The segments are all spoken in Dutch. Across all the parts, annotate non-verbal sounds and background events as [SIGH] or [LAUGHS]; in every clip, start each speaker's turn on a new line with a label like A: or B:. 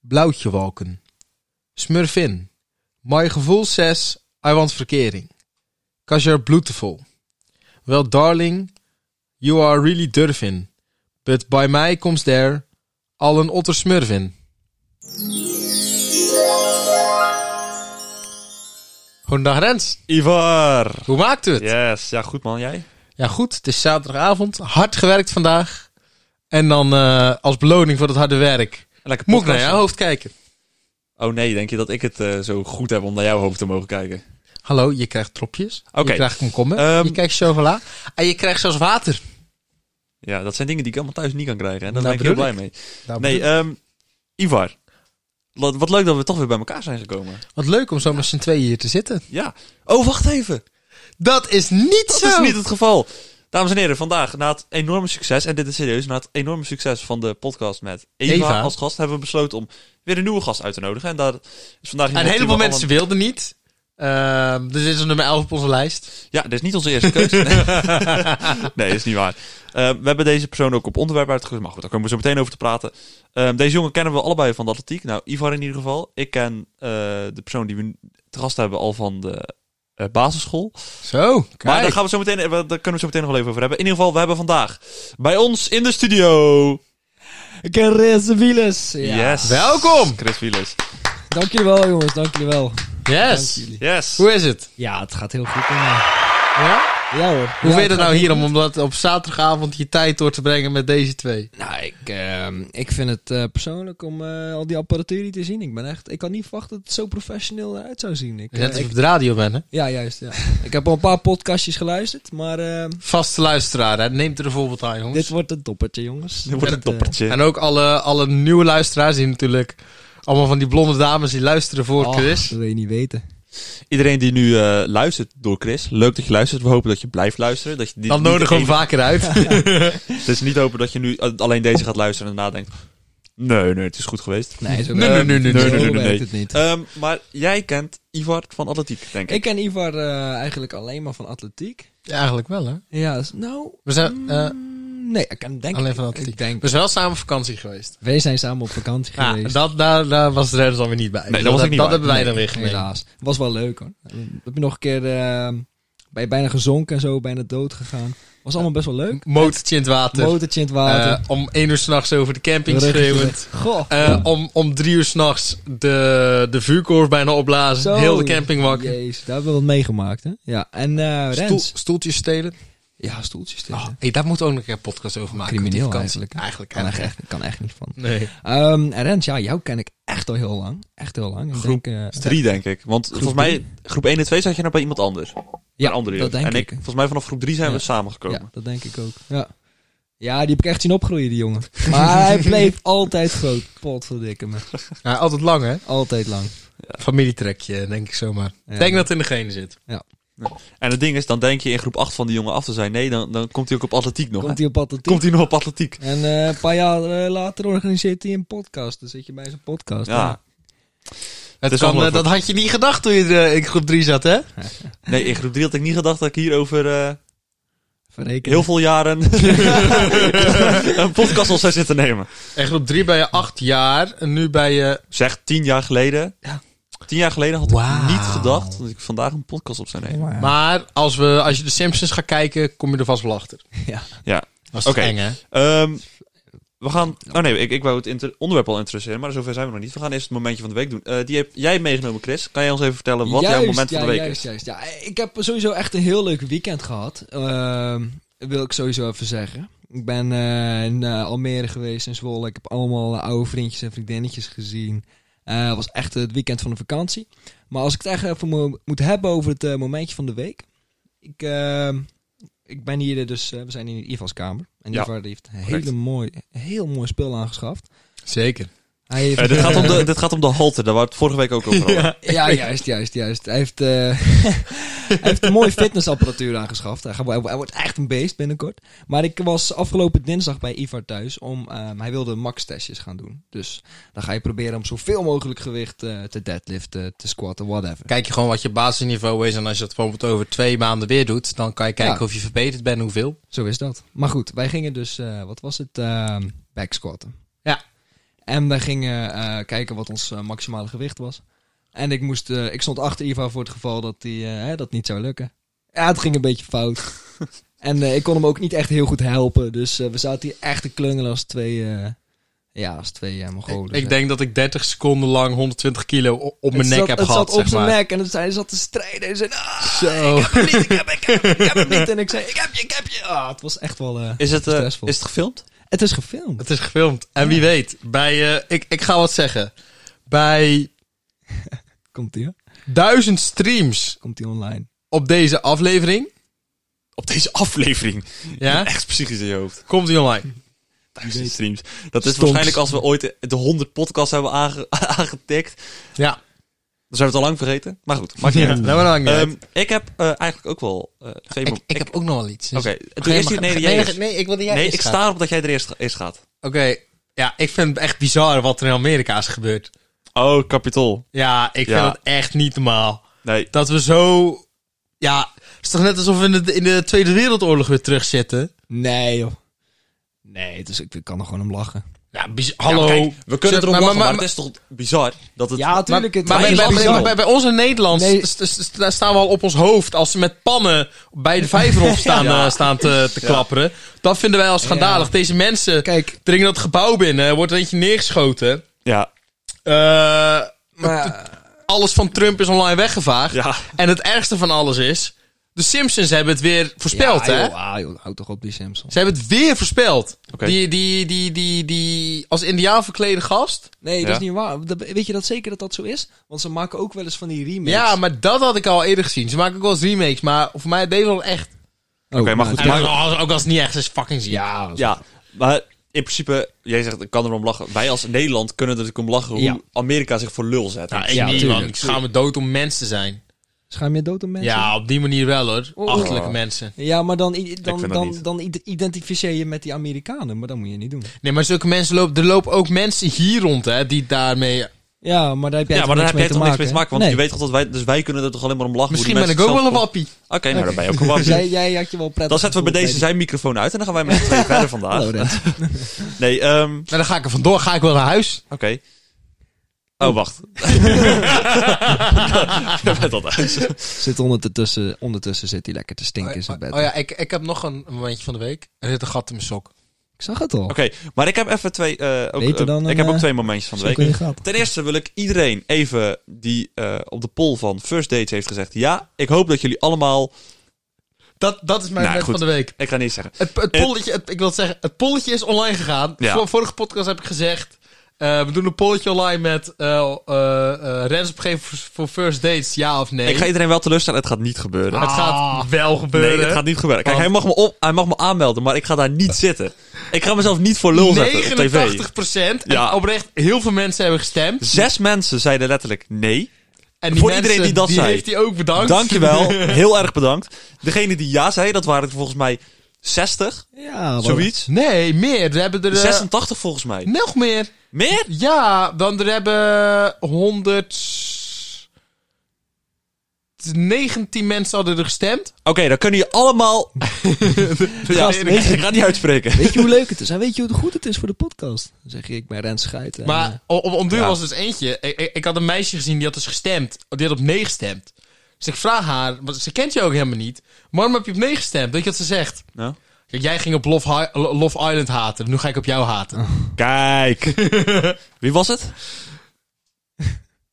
A: Blauwtje Walken. Smurfin. My gevoel says I want verkering. Kajar Bloetevol. Well darling, you are really durvin. But by mij comes there al een otter smurfin. Goedendag Rens,
B: Ivar.
A: hoe maakt u het?
B: Yes, ja goed man, jij?
A: Ja goed, het is zaterdagavond, hard gewerkt vandaag. En dan eh, als beloning voor het harde werk moet ik
B: Lekker
A: naar
B: podcasten.
A: jouw hoofd kijken.
B: Oh nee, denk je dat ik het eh, zo goed heb om naar jouw hoofd te mogen kijken?
A: Hallo, je krijgt tropjes,
B: Oké.
A: je krijgt komkommer,
B: Ehm.
A: je krijgt chocola en je krijgt zelfs water.
B: Ja, dat zijn dingen die ik allemaal thuis niet kan krijgen. En daar
A: Nou,
B: ben ik heel
A: bedoel
B: blij mee.
A: Nou,
B: Nee, ehm, Ivar. Wat wat leuk dat we toch weer bij elkaar zijn gekomen.
A: Wat leuk om zo met z'n tweeën hier te zitten.
B: Ja. Oh, wacht even.
A: Dat is niet
B: Dat
A: zo!
B: is niet het geval. Dames en heren, vandaag na het enorme succes, en dit is serieus, na het enorme succes van de podcast met Eva,
A: Eva.
B: als gast, hebben we besloten om weer een nieuwe gast uit te nodigen. En daar is vandaag
A: Een
B: iemand die
A: heleboel
B: we al
A: mensen wilden niet. Ehm, dus dit is nummer 11 op onze lijst.
B: Ja, dit is niet onze eerste
A: [LAUGHS]
B: keuze. Nee, nee is niet waar. Eh, we hebben deze persoon ook op onderwerp uitgekozen. Maar goed, daar komen we zo meteen over te praten. Eh, deze jongen kennen we allebei van de atletiek. Nou, Ivar in ieder geval. Ik ken eh, de persoon die we nu te gast hebben al van de eh, basisschool.
A: Zo, kijk.
B: Maar daar, gaan we zo meteen, eh, daar kunnen we zo meteen nog wel even over hebben. In ieder geval, we hebben vandaag bij ons in de studio...
C: Chris Wielers. Ja.
B: Yes.
A: Welkom.
B: Chris Wielers.
C: Dank jullie wel, jongens. Dank jullie wel. Dank
A: Yes.
C: jullie.
B: Yes.
A: Hoe is het?
C: Ja, het gaat heel goed. jongen.
A: Ja?
C: Ja hoor.
A: Hoe
C: Ja,
A: vind je het
C: gaat
A: nou
C: heel
A: hier om,
C: goed.
A: om dat op zaterdagavond je tijd door te brengen met deze twee?
C: Nou, ik, ehm, ik vind het eh, persoonlijk om eh, al die apparatuur hier te zien. Ik ben echt... Ik kan niet verwachten dat het zo professioneel eruit zou zien. Ik,
A: Je
C: eh,
A: net als
C: ik-
A: ik op de radio ben, hè?
C: ja, juist. Ja. [LAUGHS] ik heb al een paar podcastjes geluisterd, maar ehm,
A: Vaste luisteraar, hè? Neemt er een voorbeeld aan, jongens.
C: dit wordt een doppertje, jongens.
B: Dit wordt een
C: Dit, eh,
B: toppertje.
A: En ook alle, alle nieuwe luisteraars die natuurlijk... Allemaal van die blonde dames die luisteren voor
C: ach,
A: Chris.
C: dat wil je niet weten.
B: Iedereen die nu eh, luistert door Chris, leuk dat je luistert. We hopen dat je blijft luisteren. Dat je die,
A: Dan
B: niet de
A: nodigen we
B: enige-
A: hem vaker uit.
B: Het is niet open dat je nu alleen deze gaat luisteren en nadenkt. Nee, nee, het is goed geweest.
C: Nee, zo
A: Nee,
C: werkt-
A: nee, nee,
C: zo
B: nee, nee, nee,
C: werkt
B: nee.
C: het niet.
B: Ehm, maar jij kent Ivar van Atletiek, denk ik.
C: Ik ken Ivar eh, eigenlijk alleen maar van atletiek.
A: Ja, eigenlijk wel, hè?
C: [LAUGHS] Ja, dus- nou...
A: We zijn, eh,
C: mm, nee, ik kan denk
A: alleen
C: ik-
A: van
C: ik
A: atletiek.
C: denk
A: we zijn wel samen op vakantie geweest.
C: Wij zijn samen op vakantie
A: Ja,
C: geweest.
A: Ah, dat, daar, daar was de Redders dan weer niet bij.
B: dat was ik niet
A: dat
B: bij.
A: hebben wij dan weer gemeen.
C: Helaas. Was wel leuk hoor. We hebben nog een keer eh, bij, bijna gezonken en zo, bijna dood gegaan. Was allemaal best wel leuk.
A: Motortje in het water.
C: Motortje in het water.
A: Eh, om één uur s'nachts over de camping
C: Ruggetje
A: schreeuwen.
C: met- Goh.
A: Eh, om, om drie uur s'nachts de, de vuurkorf bijna opblazen.
C: Zo.
A: Heel de camping wakker.
C: Jezus, daar hebben we wat meegemaakt hè. Ja, en eh
A: Stoel-
C: Rens.
A: stoeltjes stelen.
C: Ja, stoeltjes. tegen.
A: Oh, hey, daar moeten we ook nog een keer een podcast over maken.
C: Crimineel
A: op die vakantie.
C: kan,
A: Eigenlijk.
C: echt,
A: eigenlijk.
C: echt- kan echt niet van.
A: Nee.
C: Ehm, en Rens, ja, jou ken ik echt al heel lang. Echt heel lang. Ik
B: Groep
C: denk, eh,
B: Drie, denk ik. Want volgens mij, groep 1 en 2 zat je nou bij iemand anders.
C: ja,
B: Een andere
C: dat
B: jongen.
C: denk
B: En
C: ik.
B: ik, volgens mij vanaf groep 3 zijn we
C: Ja.
B: samengekomen.
C: Ja, dat denk ik ook. Ja. Ja, die heb ik echt zien opgroeien, die jongen. Maar hij bleef altijd groot. Potverdikke me.
A: Ja, altijd lang, hè?
C: Altijd lang.
A: Familietrekje, denk ik zomaar.
C: Ja.
A: Denk dat het in de genen zit.
B: En het ding is, dan denk je in groep 8 van die jongen af te zijn. Nee, dan, dan komt hij ook op atletiek nog. hè?
C: Komt hij op atletiek.
B: [LAUGHS] Komt hij nog op atletiek.
C: En eh, een paar jaar eh, later organiseert hij een podcast. Dan zit je bij zijn podcast.
B: Ja.
A: Het
B: is
A: kan, eh,
B: ongelooflijk.
A: dat had je niet gedacht toen je eh, in groep 3 zat, hè?
B: Nee, in groep 3 had ik niet gedacht dat ik hier over eh,
C: Verrekenen.
B: heel veel
C: [LAUGHS]
B: jaren [LAUGHS] een podcast al zou zitten nemen.
A: En groep 3 ben je 8 jaar. En nu ben je...
B: Zeg, tien jaar geleden.
C: Ja.
B: Tien jaar geleden had ik
A: Wauw.
B: niet gedacht dat ik vandaag een podcast op zou nemen.
C: Maar,
A: Maar als, we, als je de Simpsons gaat kijken, kom je er vast wel achter.
C: ja.
B: Ja.
A: Dat is toch
B: Oké.
A: eng, hè?
B: Ehm, we gaan... Oh nee, ik, ik wou het inter- onderwerp al introduceren, maar zover zijn we nog niet. We gaan eerst het momentje van de week doen. Eh, die heb jij meegenomen, Chris. Kan jij ons even vertellen wat jouw
C: Juist,
B: moment
C: ja,
B: van de week
C: juist,
B: is?
C: juist. Ja, ik heb sowieso echt een heel leuk weekend gehad. Ehm, wil ik sowieso even zeggen. Ik ben eh, in eh, Almere geweest, in Zwolle. Ik heb allemaal eh, oude vriendjes en vriendinnetjes gezien. Eh, Het was echt het weekend van de vakantie. Maar als ik het echt even mo- moet hebben over het eh, momentje van de week. Ik, ehm, ik ben hier eh, dus, eh, we zijn in Ivar's kamer. En
B: Ja,
C: Ivar heeft een
B: correct.
C: hele mooi, heel mooi spul aangeschaft.
A: Zeker.
C: Hij heeft,
B: Eh, dit, gaat om
C: eh,
B: de, dit gaat om de halter, daar waar we het vorige week ook over hadden.
C: [LAUGHS] ja, juist, juist, juist. Hij heeft, eh, [LAUGHS] hij heeft een mooie fitnessapparatuur aangeschaft. Hij, gaat- hij wordt echt een beest binnenkort. Maar ik was afgelopen dinsdag bij Ivar thuis. Om, ehm, hij wilde max-testjes gaan doen. Dus dan ga je proberen om zoveel mogelijk gewicht eh, te deadliften, te squatten, whatever.
A: Kijk je gewoon wat je basisniveau is. En als je dat bijvoorbeeld over twee maanden weer doet, dan kan je kijken
C: Ja.
A: of je verbeterd bent, hoeveel.
C: Zo is dat. Maar goed, wij gingen dus, eh, wat was het? Ehm backsquatten.
A: Ja.
C: En wij gingen eh, kijken wat ons eh, maximale gewicht was. En ik, moest, eh, ik stond achter Ivar voor het geval dat die, eh, hè, dat niet zou lukken. Ja, het ging een beetje
A: [LAUGHS]
C: fout. en eh, ik kon hem ook niet echt heel goed helpen. Dus eh, we zaten hier echt te klungelen als twee, eh, ja, als twee eh, Mongolen.
A: ik denk dat ik 30 seconden lang 120 kilo o- op mijn
C: Het
A: nek
C: zat-
A: heb
C: het
A: gehad,
C: zat op
A: zeg
C: zijn
A: maar.
C: nek en het zei, hij zat te strijden. En zei, "Ah,
A: Zo.
C: ik heb hem niet, ik heb, ik heb, hem, ik heb hem
A: [LAUGHS]
C: niet. En ik zei, ik heb je, ik heb je. Ah, het was echt wel... eh,
B: Is het, eh,
C: Stressvol.
B: is het gefilmd?
C: het is gefilmd.
A: Het is gefilmd. En wie weet, bij, eh, ik, ik ga wat zeggen. Bij
C: Komt ie, hoor.
A: duizend streams
C: Komt die online.
A: op deze aflevering,
B: Op deze aflevering.
A: [LAUGHS] ja,
B: Echt psychisch in je hoofd.
A: komt die online.
B: Duizend
C: weet-
B: streams. Dat is
C: Stonks.
B: waarschijnlijk als we ooit de 100 podcasts hebben aange- [LAUGHS] aangetikt.
A: Ja,
B: Dan zijn we het al lang vergeten. Maar goed,
A: mag
B: maakt niet
A: niet.
B: uit.
A: Dat maakt niet uit.
B: Ehm, ik heb eh, eigenlijk ook wel eh, twee...
A: Ik,
B: mom-
A: ik heb ook nog wel iets. dus-
B: Oké, doe
A: Geen,
B: eerst die...
A: mag-
B: Nee,
A: nee,
B: die jij
A: nee,
B: eerst.
A: nee, ik wilde jij
B: Nee,
A: eerst
B: ik
A: gaan.
B: sta erop dat jij er eerst, eerst gaat.
A: Oké, ja, ik vind het echt bizar wat er in Amerika is gebeurd.
B: Oh, kapitol.
A: Ja, ik vind
B: Ja.
A: het echt niet normaal.
B: Nee.
A: Dat we zo... Ja, het is toch net alsof we in de, in de Tweede Wereldoorlog weer terugzitten?
C: Nee, joh. Nee, dus ik ik kan er gewoon om lachen.
A: Ja, bizar. Hallo.
B: we kunnen
A: Zet-
B: erop
A: maar-
B: lachen, maar,
A: maar-
B: het is toch bizar dat het...
C: Ja,
A: Maar,
C: tuurlijk. Het
A: maar
B: maar
A: bij,
B: is
A: bij-
B: bizar.
A: bij- bij- bij ons in Nederland
C: Nee.
A: st- st- st- daar staan we al op ons hoofd als ze met pannen bij de
B: [LAUGHS]
A: vijverhof staan,
B: Ja.
A: eh, staan te, te klapperen. Dat vinden wij al schandalig.
C: Ja.
A: Deze mensen
C: Kijk,
A: dringen dat gebouw binnen, er wordt er eentje neergeschoten.
B: Ja,
A: Eh,
C: maar...
A: alles van Trump is online weggevaagd.
B: ja.
A: En het ergste van alles is, de Simpsons hebben het weer voorspeld,
C: ja,
A: hè?
C: Joh, ah, joh, houd toch op die Samsung.
A: Ze hebben het weer voorspeld.
B: Oké.
A: Die, die, die, die, die als indiaan verklede gast.
C: Nee, dat
B: Ja.
C: is niet waar. Dat- weet je dat zeker dat dat zo is? Want ze maken ook wel eens van die remakes.
A: Ja, maar dat had ik al eerder gezien. Ze maken ook wel eens remakes, maar voor mij deed wel echt.
C: Oh,
B: Oké, maar goed.
A: En
B: Maar-
A: als- ook als het niet echt is, fucking ziek.
C: Ja,
B: Ja, maar in principe, jij zegt ik kan erom lachen. Wij als Nederland kunnen er natuurlijk om lachen hoe
C: Ja.
B: Amerika zich voor lul zet.
A: Nou, ik
C: Ja,
A: niet,
C: tuurlijk.
A: man. Ik schaam me dood om mens te zijn.
C: schaam je dood om mensen?
A: Ja, op die manier wel, hoor.
C: Oh.
A: Achterlijke mensen.
C: Ja, maar dan, i- dan,
B: vind dat
C: dan,
B: niet.
C: dan i- identificeer je met die Amerikanen. Maar dat moet je niet doen.
A: Nee, maar zulke mensen lopen... Er lopen ook mensen hier rond, hè, die daarmee...
C: Ja, maar daar heb jij
B: ja,
C: toch
B: maar daar
C: niks
B: heb jij
C: mee te
B: toch niks mee te maken, want
C: Nee.
B: je weet toch dat wij, dus wij kunnen er toch alleen maar om lachen. hoe die
A: Misschien ben ik
B: mensen
A: ook wel een
B: zichzelf
A: wappie.
B: voelen. Oké, nou dan ben [LAUGHS] je ook een
C: Dus
B: wappie.
C: jij, [LAUGHS] jij had je wel prettig
B: Dan zetten we bij
C: gevoeld
B: deze zijn microfoon uit en dan gaan wij met z'n [LAUGHS] tweeën verder
C: Hallo,
B: vandaag.
C: Rens.
B: Nee, ehm
A: Maar Nou, dan ga ik er vandoor. Ga ik wel naar huis.
B: oké. Oh,
C: [LAUGHS]
B: wacht. dat werd dat uit.
C: [LAUGHS] Zit ondertussen, ondertussen zit hij lekker te stinken in zijn bed.
A: Oh ja, ik, ik heb nog een momentje van de week. Er zit een gat in mijn sok.
C: Ik zag het al.
B: Oké, maar ik heb even twee... eh, ook,
C: Beter
B: eh,
C: dan
B: ik
C: een,
B: heb ook
C: eh,
B: twee momentjes van de
C: Zo
B: week.
C: kun je grap.
B: Ten eerste wil ik iedereen even die eh, op de poll van First Dates heeft gezegd... Ja, ik hoop dat jullie allemaal...
A: Dat, dat is mijn
B: Nou,
A: moment
B: goed.
A: van de week.
B: Ik ga niet zeggen.
A: Het, het polletje, het- ik wil het zeggen, het polletje is online gegaan.
B: Ja.
A: Vor- vorige podcast heb ik gezegd, eh, we doen een polletje online met eh eh eh, Rens opgeven voor, voor first dates, ja of nee.
B: Ik ga iedereen wel teleurstellen, het gaat niet
C: Ah.
B: gebeuren.
A: Het gaat wel gebeuren. Oh.
B: Nee, het gaat niet gebeuren. Kijk,
A: Want-
B: hij mag, me op, hij mag me aanmelden, maar ik ga daar niet zitten. Ik ga mezelf niet voor lul zetten op tv.
A: 89 procent.
B: Ja.
A: oprecht, heel veel mensen hebben gestemd.
B: Zes mensen zeiden letterlijk nee.
A: En
B: Voor iedereen die dat zei.
A: heeft hij ook bedankt.
B: Dankjewel, heel erg bedankt. Degene die ja zei, dat waren er volgens mij 60,
C: Ja,
A: Ah,
C: maar-
A: [LAUGHS]
B: zoiets.
A: Nee, meer. We hebben er... eh,
B: 86 volgens mij.
A: nog meer.
B: Meer?
A: Ja, dan er hebben 100... 19 mensen hadden er gestemd.
B: Oké, dan kunnen je allemaal... ja,
C: Gast, weet je-
B: ik ga het niet uitspreken.
C: Weet je hoe leuk het is? En weet je hoe goed het is voor de podcast? Dan zeg je, ik ben Rens Schuiten. En, eh,
A: Maar op, op, om duur
B: Ja.
A: was er dus eentje. Ik, ik, ik had een meisje gezien die had dus gestemd. Die had op nee gestemd. Dus ik vraag haar, want ze kent je ook helemaal niet. Waarom heb je op nee gestemd? Weet je wat ze zegt?
B: Nou.
A: Kijk, jij ging op Love, Hi- Love Island haten. Nu ga ik op jou haten.
B: Kijk. Wie was het?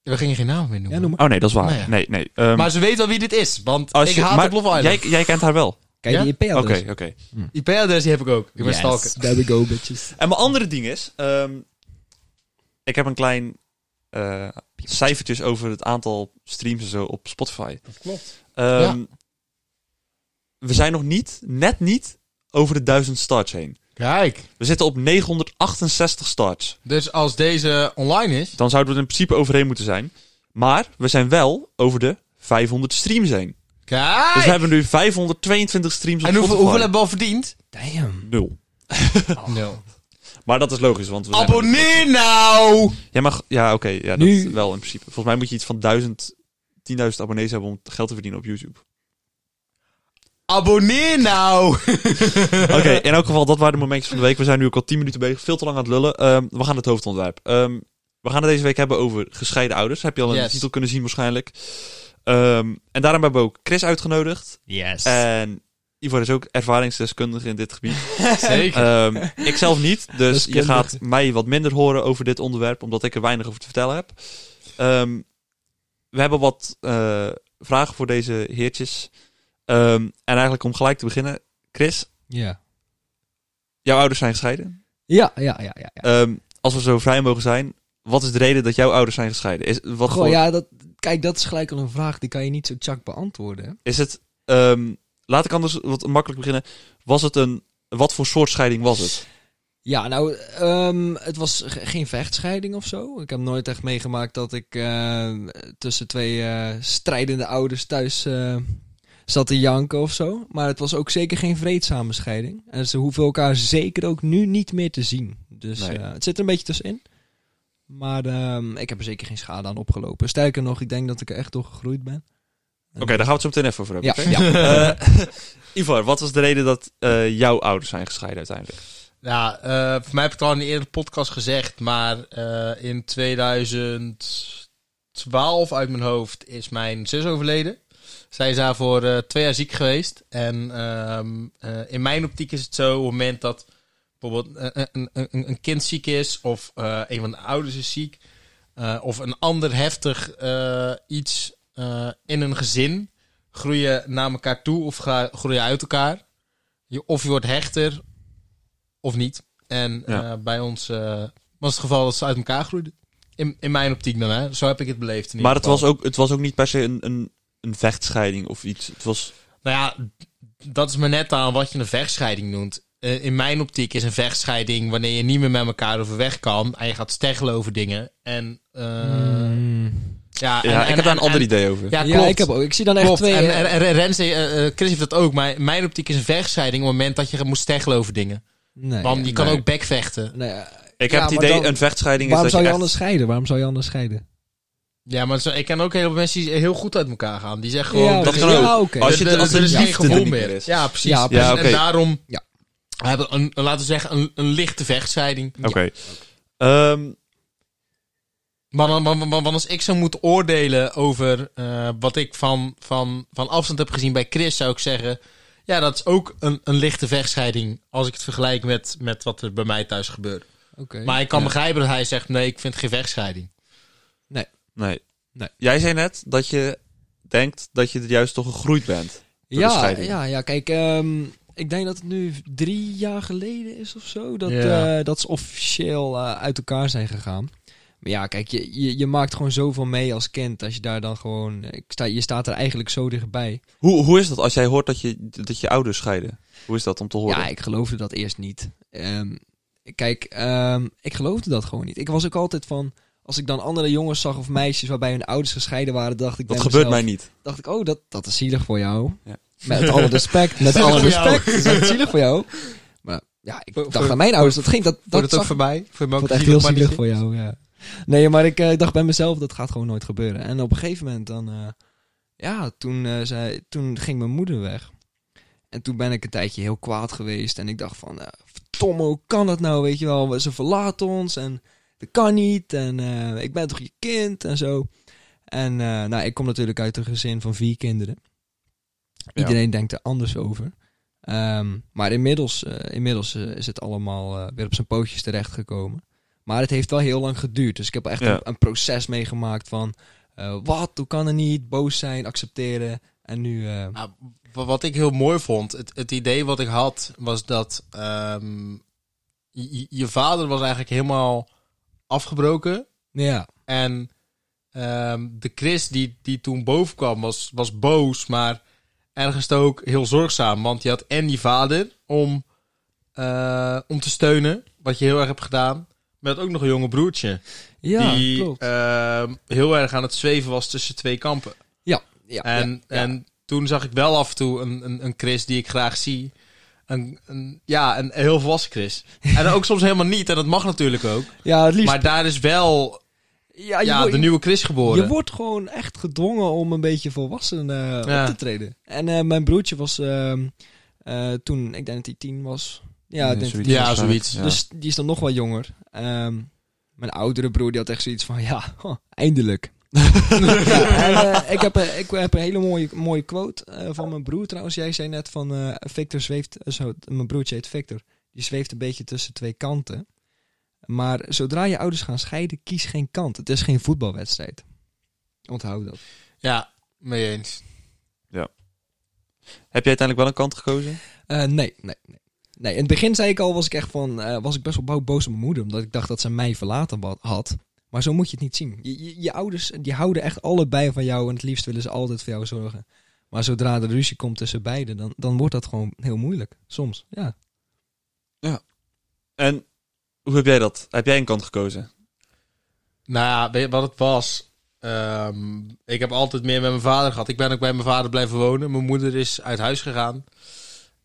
A: We gingen geen naam meer
C: eh,
A: noemen.
C: ja, noem maar.
B: Oh nee, dat is waar.
A: Nou ja.
B: Nee, nee. ehm,
A: Maar ze weet wel wie dit is. Want
B: als
A: ik
B: je-
A: haat
B: maar
A: op Love Island.
B: Jij, jij kent haar wel. Oké,
C: Kijk,
A: Ja?
C: die E IP-adres.
B: oké.
A: IP-adres die heb ik ook. Ik ben stalker.
C: There we go,
A: [LAUGHS]
C: bitches.
B: En mijn andere ding is... ehm, ik heb een klein eh, cijfertjes over het aantal streams en zo op Spotify. Dat
A: klopt.
B: Ehm, We zijn nog niet, net niet, over de duizend starts heen.
A: Kijk,
B: We zitten op 968 starts.
A: dus als deze online is...
B: Dan zouden we er in principe overheen moeten zijn. Maar we zijn wel over de 500 streams heen.
A: Kijk!
B: Dus we hebben dus nu 522 streams op
A: en hoeveel,
B: Spotify.
A: hoeveel hebben we al verdiend? [LAUGHS]
C: Damn.
B: Nul.
A: Nul.
B: Maar dat is logisch, want we zijn-
A: Abonneer nou!
B: Jij mag... Ja, oké. ja, dat
C: Nu.
B: wel in principe. Volgens mij moet je iets van 1000, 10.000 abonnees hebben om geld te verdienen op YouTube.
A: Abonneer
B: [LAUGHS]
A: nou!
B: Oké,
C: [LAUGHS]
B: in elk geval, dat waren de momentjes van de week. We zijn nu ook al 10 minuten bezig, veel te lang aan het lullen. Ehm, we gaan het hoofdontwerp. Ehm, we gaan het deze week hebben over gescheiden ouders. Heb je al in de
A: Yes.
B: titel kunnen zien waarschijnlijk. Ehm, en daarom hebben we ook Chris uitgenodigd.
C: Yes.
B: En Ivor is ook ervaringsdeskundige in dit gebied.
A: Zeker.
C: [LAUGHS]
B: Ikzelf ik zelf niet, dus je
C: Deskundige.
B: gaat mij wat minder horen over dit onderwerp, omdat ik er weinig over te vertellen heb. Ehm, we hebben wat eh, vragen voor deze heertjes. Ehm, en eigenlijk om gelijk te beginnen, Chris,
C: ja.
B: jouw ouders zijn gescheiden.
C: Ja, ja, ja, ja. ja.
B: Ehm, als we zo vrij mogen zijn, wat is de reden dat jouw ouders zijn gescheiden? Is, wat
C: Goh,
B: voor-
C: ja, dat, kijk, dat is gelijk al een vraag die kan je niet zo chak beantwoorden. hè.
B: is het? ehm, laat ik anders wat makkelijk beginnen. Was het een wat voor soort scheiding was het?
C: Ja, nou, ehm, het was ge- geen vechtscheiding of zo. Ik heb nooit echt meegemaakt dat ik eh, tussen twee eh, strijdende ouders thuis eh, zat te janken of zo. Maar het was ook zeker geen vreedzame scheiding. En ze hoeven elkaar zeker ook nu niet meer te zien. Dus
B: Nee.
C: eh, het zit er een beetje tussenin. Maar ehm, ik heb er zeker geen schade aan opgelopen. Sterker nog, ik denk dat ik er echt door gegroeid ben.
B: Oké, daar gaan we het zo meteen even over hebben. oké?
C: Ja, ja.
B: [LAUGHS] Eh, Ivar, wat was de reden dat eh, jouw ouders zijn gescheiden uiteindelijk?
A: [LAUGHS] Ja, eh, voor mij heb ik het al in een eerdere podcast gezegd, maar eh, in 2012 uit mijn hoofd is mijn zus overleden. Zij is daarvoor eh, twee jaar ziek geweest. En ehm, eh, in mijn optiek is het zo, op het moment dat bijvoorbeeld eh, een, een, een, een kind ziek is, of eh, een van de ouders is ziek, eh, of een ander heftig eh, iets eh, in een gezin, groeien naar elkaar toe of ga, groeien uit elkaar. Je, of je wordt hechter, of niet. En
B: Ja.
A: eh, bij ons eh, was het geval dat ze uit elkaar groeiden. In, in mijn optiek dan, hè. Zo heb ik het beleefd. in ieder
B: Maar het
A: geval.
B: was, ook, het was ook niet per se een, een, een vechtscheiding of iets. Het was,
A: Nou ja, dat is maar net aan wat je een vechtscheiding noemt. Eh, in mijn optiek is een vechtscheiding wanneer je niet meer met elkaar overweg kan. En je gaat steggelen over dingen. En, eh, ja, en-
B: ja, ik
A: en-
B: heb daar een
A: en-
B: ander
A: en-
B: idee over.
A: Ja,
C: Hmm. Ja,
A: klopt.
C: ik, heb ook, ik zie dan echt
A: Klopt.
C: twee...
A: En,
C: eh,
A: en, en Rens, eh, eh, Chris heeft dat ook. Maar in mijn optiek is een vechtscheiding op het moment dat je moet steggelen over dingen.
C: nee,
A: Want je kan
B: nee.
A: ook backvechten.
C: nee, eh,
B: Ik
C: ja,
B: heb het
C: maar
B: idee,
C: dan-
B: een vechtscheiding is
C: Waarom
B: dat
C: zou je,
B: je echt...
C: anders scheiden? Waarom zou je anders scheiden?
A: Ja, maar zo, ik ken ook heel veel mensen die heel goed uit elkaar gaan. Die zeggen gewoon...
B: dat
A: er-
B: kan ook.
C: Ja, oké.
B: Als je
A: er-
B: het- als
A: er
B: de
A: is geen
B: liefde er
A: gevoel
B: niet
A: meer
B: meer is.
A: Ja, precies.
C: Ja,
A: Dus-
B: oké.
A: En daarom...
C: Ja.
A: We hebben een, een- laten we zeggen, een, een lichte vechtscheiding.
B: Oké. Ehm,
A: Maar dan- want- want- want als ik zou moeten oordelen over eh, wat ik van, van, van afstand heb gezien bij Chris, zou ik zeggen... Ja, dat is ook een, een lichte vechtscheiding als ik het vergelijk met, met wat er bij mij thuis gebeurt.
C: Oké.
A: Maar ik kan
B: Ja.
A: begrijpen dat hij zegt, nee, ik vind geen vechtscheiding.
B: nee.
C: Nee.
B: Jij zei net dat je denkt dat je er juist toch gegroeid bent. de
C: ja,
B: scheiding.
C: ja, ja, kijk, ehm, ik denk dat het nu drie jaar geleden is of zo dat,
A: Ja.
C: eh, dat ze officieel eh, uit elkaar zijn gegaan. Maar ja, kijk, je, je, je maakt gewoon zoveel mee als kind als je daar dan gewoon, eh, ik sta, je staat er eigenlijk zo dichtbij.
B: Hoe, hoe is dat als jij hoort dat je, dat je ouders scheiden? Hoe is dat om te horen?
C: Ja, ik geloofde dat eerst niet. Ehm, kijk, ehm, ik geloofde dat gewoon niet. Ik was ook altijd van, als ik dan andere jongens zag of meisjes waarbij hun ouders gescheiden waren, dacht ik
B: dat
C: bij
B: gebeurt
C: mezelf,
B: mij niet.
C: dacht ik, oh, dat, dat is zielig voor jou.
B: Ja.
A: [LAUGHS]
C: Met alle respect, met
A: Zielig
C: alle
A: voor jou.
C: respect. Dat is zielig voor jou. Maar ja, ik
A: Voor-
C: dacht
A: voor-
C: aan mijn ouders, dat ging, dat, dat,
A: Wordt het ook
C: zag,
A: voor mij? Voor mij
C: ik
A: ook
C: vond echt heel
A: zielig, maar
C: zielig
A: niet-
C: voor jou, ja. Nee, maar ik eh, dacht bij mezelf, dat gaat gewoon nooit gebeuren. En op een gegeven moment dan, eh, ja, toen, eh, zei, toen ging mijn moeder weg. En toen ben ik een tijdje heel kwaad geweest. En ik dacht van, eh verdomme, hoe kan dat nou, weet je wel. Ze verlaten ons en dat kan niet. En eh, ik ben toch je kind en zo. En eh, nou, ik kom natuurlijk uit een gezin van vier kinderen.
B: Ja.
C: Iedereen denkt er anders over. Ehm, maar inmiddels, eh, inmiddels eh, is het allemaal eh, weer op zijn pootjes terechtgekomen. Maar het heeft wel heel lang geduurd. Dus ik heb echt
B: Ja.
C: een, een proces meegemaakt van... eh, wat, hoe kan het niet? Boos zijn, accepteren. En nu... eh,
A: Nou, wa- wat ik heel mooi vond, het, het idee wat ik had, was dat ehm, je, je- je vader was eigenlijk helemaal afgebroken.
C: ja,
A: En ehm, de Chris die, die toen boven kwam, was, was boos, maar ergens ook heel zorgzaam. Want je had en die vader om, eh, om te steunen, wat je heel erg hebt gedaan. Met ook nog een jonge broertje.
C: ja
A: die
C: klopt.
A: ehm, heel erg aan het zweven was tussen twee kampen.
C: ja,
A: En,
C: ja, ja.
A: en toen zag ik wel af en toe een, een, een Chris die ik graag zie. Een, een, ja, een heel
C: [LAUGHS]
A: volwassen Chris. En ook soms helemaal niet, en dat mag natuurlijk ook.
C: ja, het liefst.
A: Maar daar is wel
C: Ja, Ah, je,
A: ja,
C: wordt-
A: de nieuwe Chris geboren.
C: je wordt gewoon echt gedwongen om een beetje volwassen eh,
A: Ja.
C: op te treden. En eh, mijn broertje was ehm, eh, toen, ik denk dat hij tien was. Ja, ik denk dat hij
A: Ja,
C: tien was.
A: zoiets.
B: Ja.
C: Dus die is dan nog wel jonger. Ehm, mijn oudere broer die had echt zoiets van, ja, [LAUGHS] huh, eindelijk. ja, en, eh, ik, heb, een- ik heb een hele mooie, mooie quote eh, van mijn broer trouwens. Jij zei net van, eh, Victor zweeft, eh, zo, mijn broertje heet Victor. Die zweeft een beetje tussen twee kanten. Maar zodra je ouders gaan scheiden, kies geen kant. Het is geen voetbalwedstrijd. Onthoud dat.
A: Ja, mee eens.
B: Heb jij uiteindelijk wel een kant gekozen?
C: Eh, nee, nee, nee. Nee, in het begin zei ik al, was ik echt van, eh, was ik best wel bo- boos op mijn moeder, omdat ik dacht dat ze mij verlaten wa- had. Maar zo moet je het niet zien. Je, je, je ouders, die houden echt allebei van jou en het liefst willen ze altijd voor jou zorgen. Maar zodra er ruzie komt tussen beiden, dan, dan wordt dat gewoon heel moeilijk. Soms, ja.
B: En hoe heb jij dat? Heb jij een kant gekozen?
A: Nou ja, weet je wat het was? Ehm, ik heb altijd meer met mijn vader gehad. Ik ben ook bij mijn vader blijven wonen. Mijn moeder is uit huis gegaan.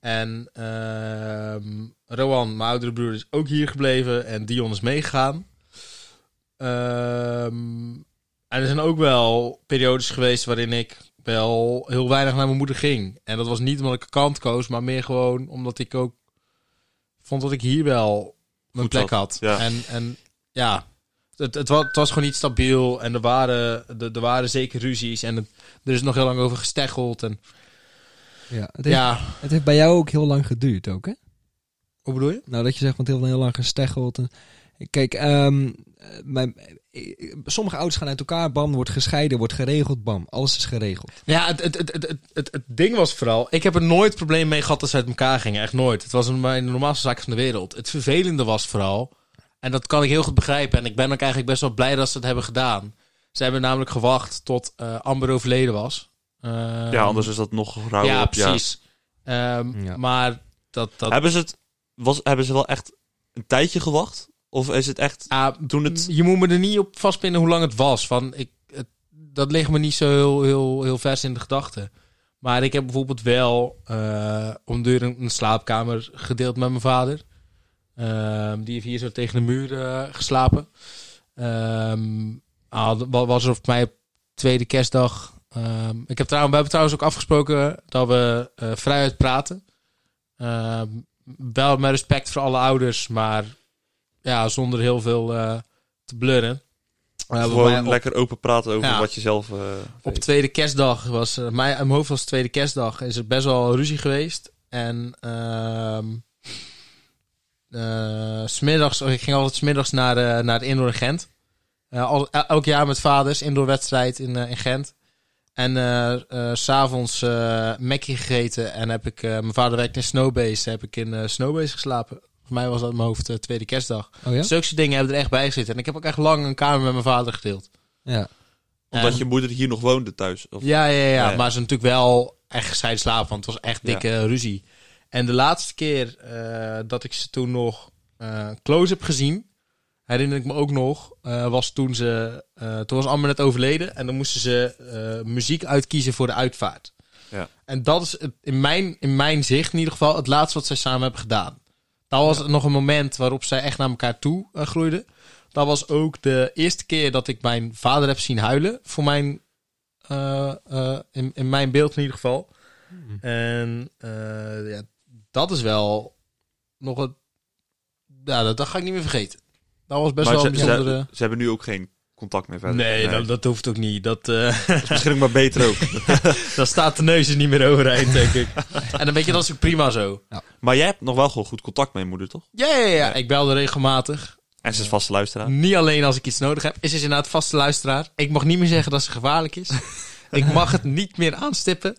A: En ehm, Rowan, mijn oudere broer, is ook hier gebleven. En Dion is meegegaan. Ehm, en er zijn ook wel periodes geweest waarin ik wel heel weinig naar mijn moeder ging. En dat was niet omdat ik een kant koos, maar meer gewoon omdat ik ook vond dat ik hier wel mijn
B: Goed
A: plek had.
B: ja.
A: En, en ja, het, het, was, het was gewoon niet stabiel en er waren, er, er waren zeker ruzies en het- er is nog heel lang over gesteggeld. En,
C: ja, het, heeft,
A: ja,
C: het heeft bij jou ook heel lang geduurd ook, hè?
A: hoe bedoel je?
C: Nou, dat je zegt, want heel, veel- heel lang gesteggeld. En- Kijk, ehm, eh, mijn, eh, sommige ouders gaan uit elkaar, bam, wordt gescheiden, wordt geregeld, bam. Alles is geregeld.
A: Ja, het, het, het, het, het, het, het ding was vooral, ik heb er nooit probleem mee gehad dat ze uit elkaar gingen. Echt nooit. Het was een, mijn normaalste zaak van de wereld. Het vervelende was vooral, en dat kan ik heel goed begrijpen. En ik ben ook eigenlijk best wel blij dat ze het hebben gedaan. Ze hebben namelijk gewacht tot eh, Amber overleden was. Ehm,
B: ja, anders is dat nog rauw.
A: Ja,
B: op-
A: precies. Ehm,
C: Ja.
A: Maar dat... dat
B: Hebben, ze het, was, hebben ze wel echt een tijdje gewacht? Of is het echt
A: Ah,
B: toen het...
A: Je moet me er niet op vastpinnen hoe lang het was. Van ik, het- dat ligt me niet zo heel, heel, heel vers in de gedachten. Maar ik heb bijvoorbeeld wel eh ondurend een slaapkamer gedeeld met mijn vader. Ehm, die heeft hier zo tegen de muur eh, geslapen. Ehm, ah, dat wa- was er op mij op tweede kerstdag. Ehm, ik heb trouwens, we hebben trouwens ook afgesproken dat we eh, vrijuit praten. Ehm, wel met respect voor alle ouders, maar ja, zonder heel veel eh, te blurren. Eh, We hebben
B: gewoon
A: mij op-
B: lekker open praten over
A: Ja.
B: wat je zelf... eh,
A: op
B: weet.
A: tweede kerstdag was er, mij, in mijn hoofd was tweede kerstdag, is er best wel ruzie geweest. En ehm eh, 's middags, ik ging altijd smiddags naar, eh, naar de Indoor in Gent. Eh, al, el- elk jaar met vaders, indoorwedstrijd in, eh, in Gent. En eh, eh, s s'avonds eh Mackie gegeten en heb ik, eh, mijn vader werkt in Snowbase, heb ik in eh, Snowbase geslapen. Voor mij was dat in mijn hoofd eh, tweede kerstdag.
C: Oh ja?
A: Zulke soort dingen hebben er echt bij gezeten. En ik heb ook echt lang een kamer met mijn vader gedeeld.
C: Ja.
B: Omdat
A: En-
B: je moeder hier nog woonde thuis. Of,
A: ja, ja, ja,
B: Ja.
A: Maar ze natuurlijk wel echt gescheiden slapen, want het was echt
B: Ja.
A: dikke ruzie. En de laatste keer eh, dat ik ze toen nog eh, close heb gezien, herinner ik me ook nog, eh, was toen ze, eh, toen was Amber net overleden en dan moesten ze eh, muziek uitkiezen voor de uitvaart.
B: Ja.
A: En dat is het- in mijn, in mijn zicht in ieder geval het laatste wat zij samen hebben gedaan. Dat was nog een moment waarop zij echt naar elkaar toe eh, groeiden. Dat was ook de eerste keer dat ik mijn vader heb zien huilen. Voor mijn, eh, eh, in, in mijn beeld in ieder geval. Hmm. En eh, ja, dat is wel nog een... Ja, dat, dat ga ik niet meer vergeten. Dat was best
B: maar
A: wel
B: ze,
A: een
B: ze-
A: bijzondere...
B: ze hebben nu ook geen contact meer verder.
A: Nee, Dat, dat hoeft ook niet. Dat, eh, [LAUGHS]
B: dat is misschien ook maar beter ook. [LAUGHS]
A: dan staat de neus er niet meer overeind, denk ik. [LAUGHS] En dan weet je, dat is ook prima zo.
B: Maar jij hebt nog wel gewoon goed contact met je moeder, toch?
A: Ja, ja, ja.
B: Ja.
A: Ik belde regelmatig.
B: En ze is vaste luisteraar.
A: Niet alleen als ik iets nodig heb. Is is inderdaad vaste luisteraar. Ik mag niet meer zeggen dat ze gevaarlijk is. ik mag het niet meer aanstippen.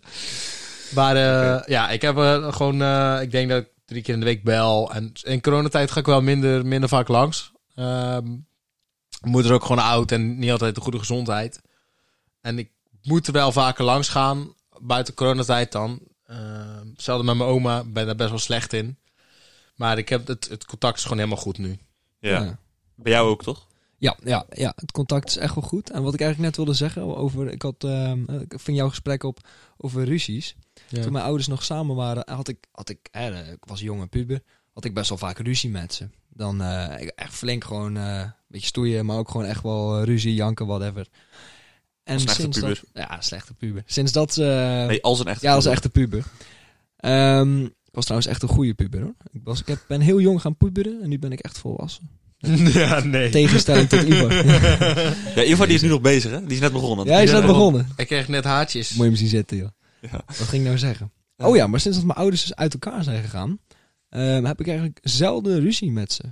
A: Maar eh, ja, ik heb eh, gewoon... eh, ik denk dat ik drie keer in de week bel. En in coronatijd ga ik wel minder, minder vaak langs. Ehm mijn moeder is ook gewoon oud en niet altijd de goede gezondheid. En ik moet er wel vaker langs gaan. Buiten coronatijd dan. Ehm hetzelfde met mijn oma. Ik ben daar best wel slecht in. Maar ik heb het, het contact is gewoon helemaal goed nu.
B: Ja. Bij jou ook, toch?
C: Ja, ja, ja, het contact is echt wel goed. En wat ik eigenlijk net wilde zeggen over... Ik had ehm, eh, van jouw gesprek op over ruzies. Toen mijn ouders nog samen waren, had ik... Had ik, eh, ik was jong en puber. Had ik best wel vaak ruzie met ze. Dan eh, ik echt flink gewoon... eh, beetje stoeien, maar ook gewoon echt wel eh, ruzie, janken, whatever. En
B: Slechte
C: sinds
B: puber.
C: Dat, ja, slechte puber. Sinds dat... eh,
B: Nee, als een echte.
C: ja, als
B: puber.
C: echte puber. Ehm, ik was trouwens echt een goede puber hoor. Ik, was, ik heb, ben heel jong gaan puberen en nu ben ik echt volwassen.
A: [LAUGHS] ja, nee.
C: Tegenstelling tot Ivar.
B: [LAUGHS] Ja, Ivar die is nu nog bezig, hè? Die is net begonnen.
C: ja, hij is net begonnen.
A: Hij kreeg net haartjes.
C: Moet je hem zien zitten, joh.
B: Ja.
C: Wat ging ik nou zeggen? Oh ja, maar sinds dat mijn ouders dus uit elkaar zijn gegaan, ehm, heb ik eigenlijk zelden ruzie met ze.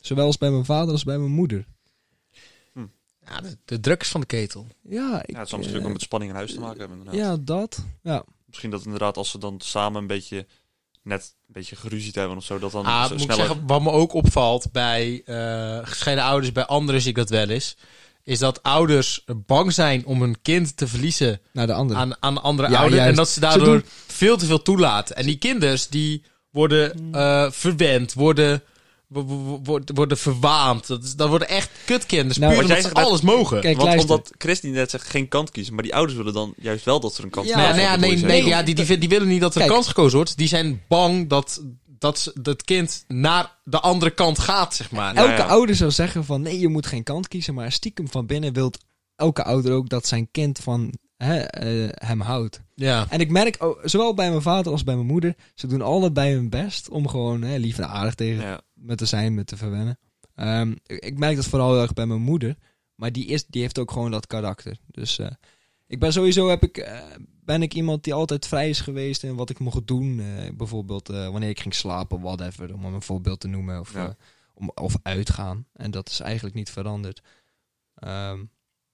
C: Zowel als bij mijn vader als bij mijn moeder.
A: Ja, de, de drugs van de ketel.
C: Ja, ik,
B: Ja, het zal natuurlijk ook met spanning in huis te maken hebben.
C: eh,
B: inderdaad.
C: Ja, dat. Ja.
B: Misschien dat inderdaad als ze dan samen een beetje net een beetje geruzied hebben of zo, dat dan
A: Ah,
B: zo
A: moet ik
B: sneller...
A: zeggen, wat me ook opvalt bij eh, gescheiden ouders, bij anderen zie ik dat wel eens, is dat ouders bang zijn om hun kind te verliezen
C: Naar de andere.
A: aan, aan andere
C: Ja,
A: ouders.
C: juist.
A: En dat ze daardoor
C: doen-
A: veel te veel toelaten. En die kinders, die worden eh verwend, worden, wo- wo- wo- worden verwaand. Dat, is- dat worden echt kutkinders,
C: Nou,
A: puur
B: wat
A: omdat
B: jij
A: ze
B: zegt net-
A: alles mogen.
C: Kijk,
B: Want
C: luister.
B: omdat Christy net zegt geen kant kiezen, maar die ouders willen dan juist wel dat ze een kant
C: Ja,
A: nee,
B: kiezen.
A: nee, ja,
B: Dat
A: nee,
B: wil je
A: nee,
B: zeggen.
A: ja, die, die, vi- die willen niet dat er
C: Kijk.
A: kans gekozen wordt. Die zijn bang dat, dat ze- dat kind naar de andere kant gaat, zeg maar.
B: nou
C: Elke
B: ja.
C: ouder zou zeggen van nee, je moet geen kant kiezen, maar stiekem van binnen wil elke ouder ook dat zijn kind van hè, eh, hem houdt.
A: Ja.
C: En ik merk, ook, zowel bij mijn vader als bij mijn moeder, ze doen allebei hun best om gewoon hè, lief en aardig tegen
B: Ja.
C: me te zijn, me te verwennen. Ehm, ik, ik merk dat vooral heel erg bij mijn moeder, maar die, is, die heeft ook gewoon dat karakter. Dus eh, ik ben sowieso heb ik, eh, ben ik iemand die altijd vrij is geweest in wat ik mocht doen. Eh, bijvoorbeeld eh, wanneer ik ging slapen, whatever, om hem een voorbeeld te noemen. Of,
B: Ja.
C: eh, om, of uitgaan. En dat is eigenlijk niet veranderd. Ehm,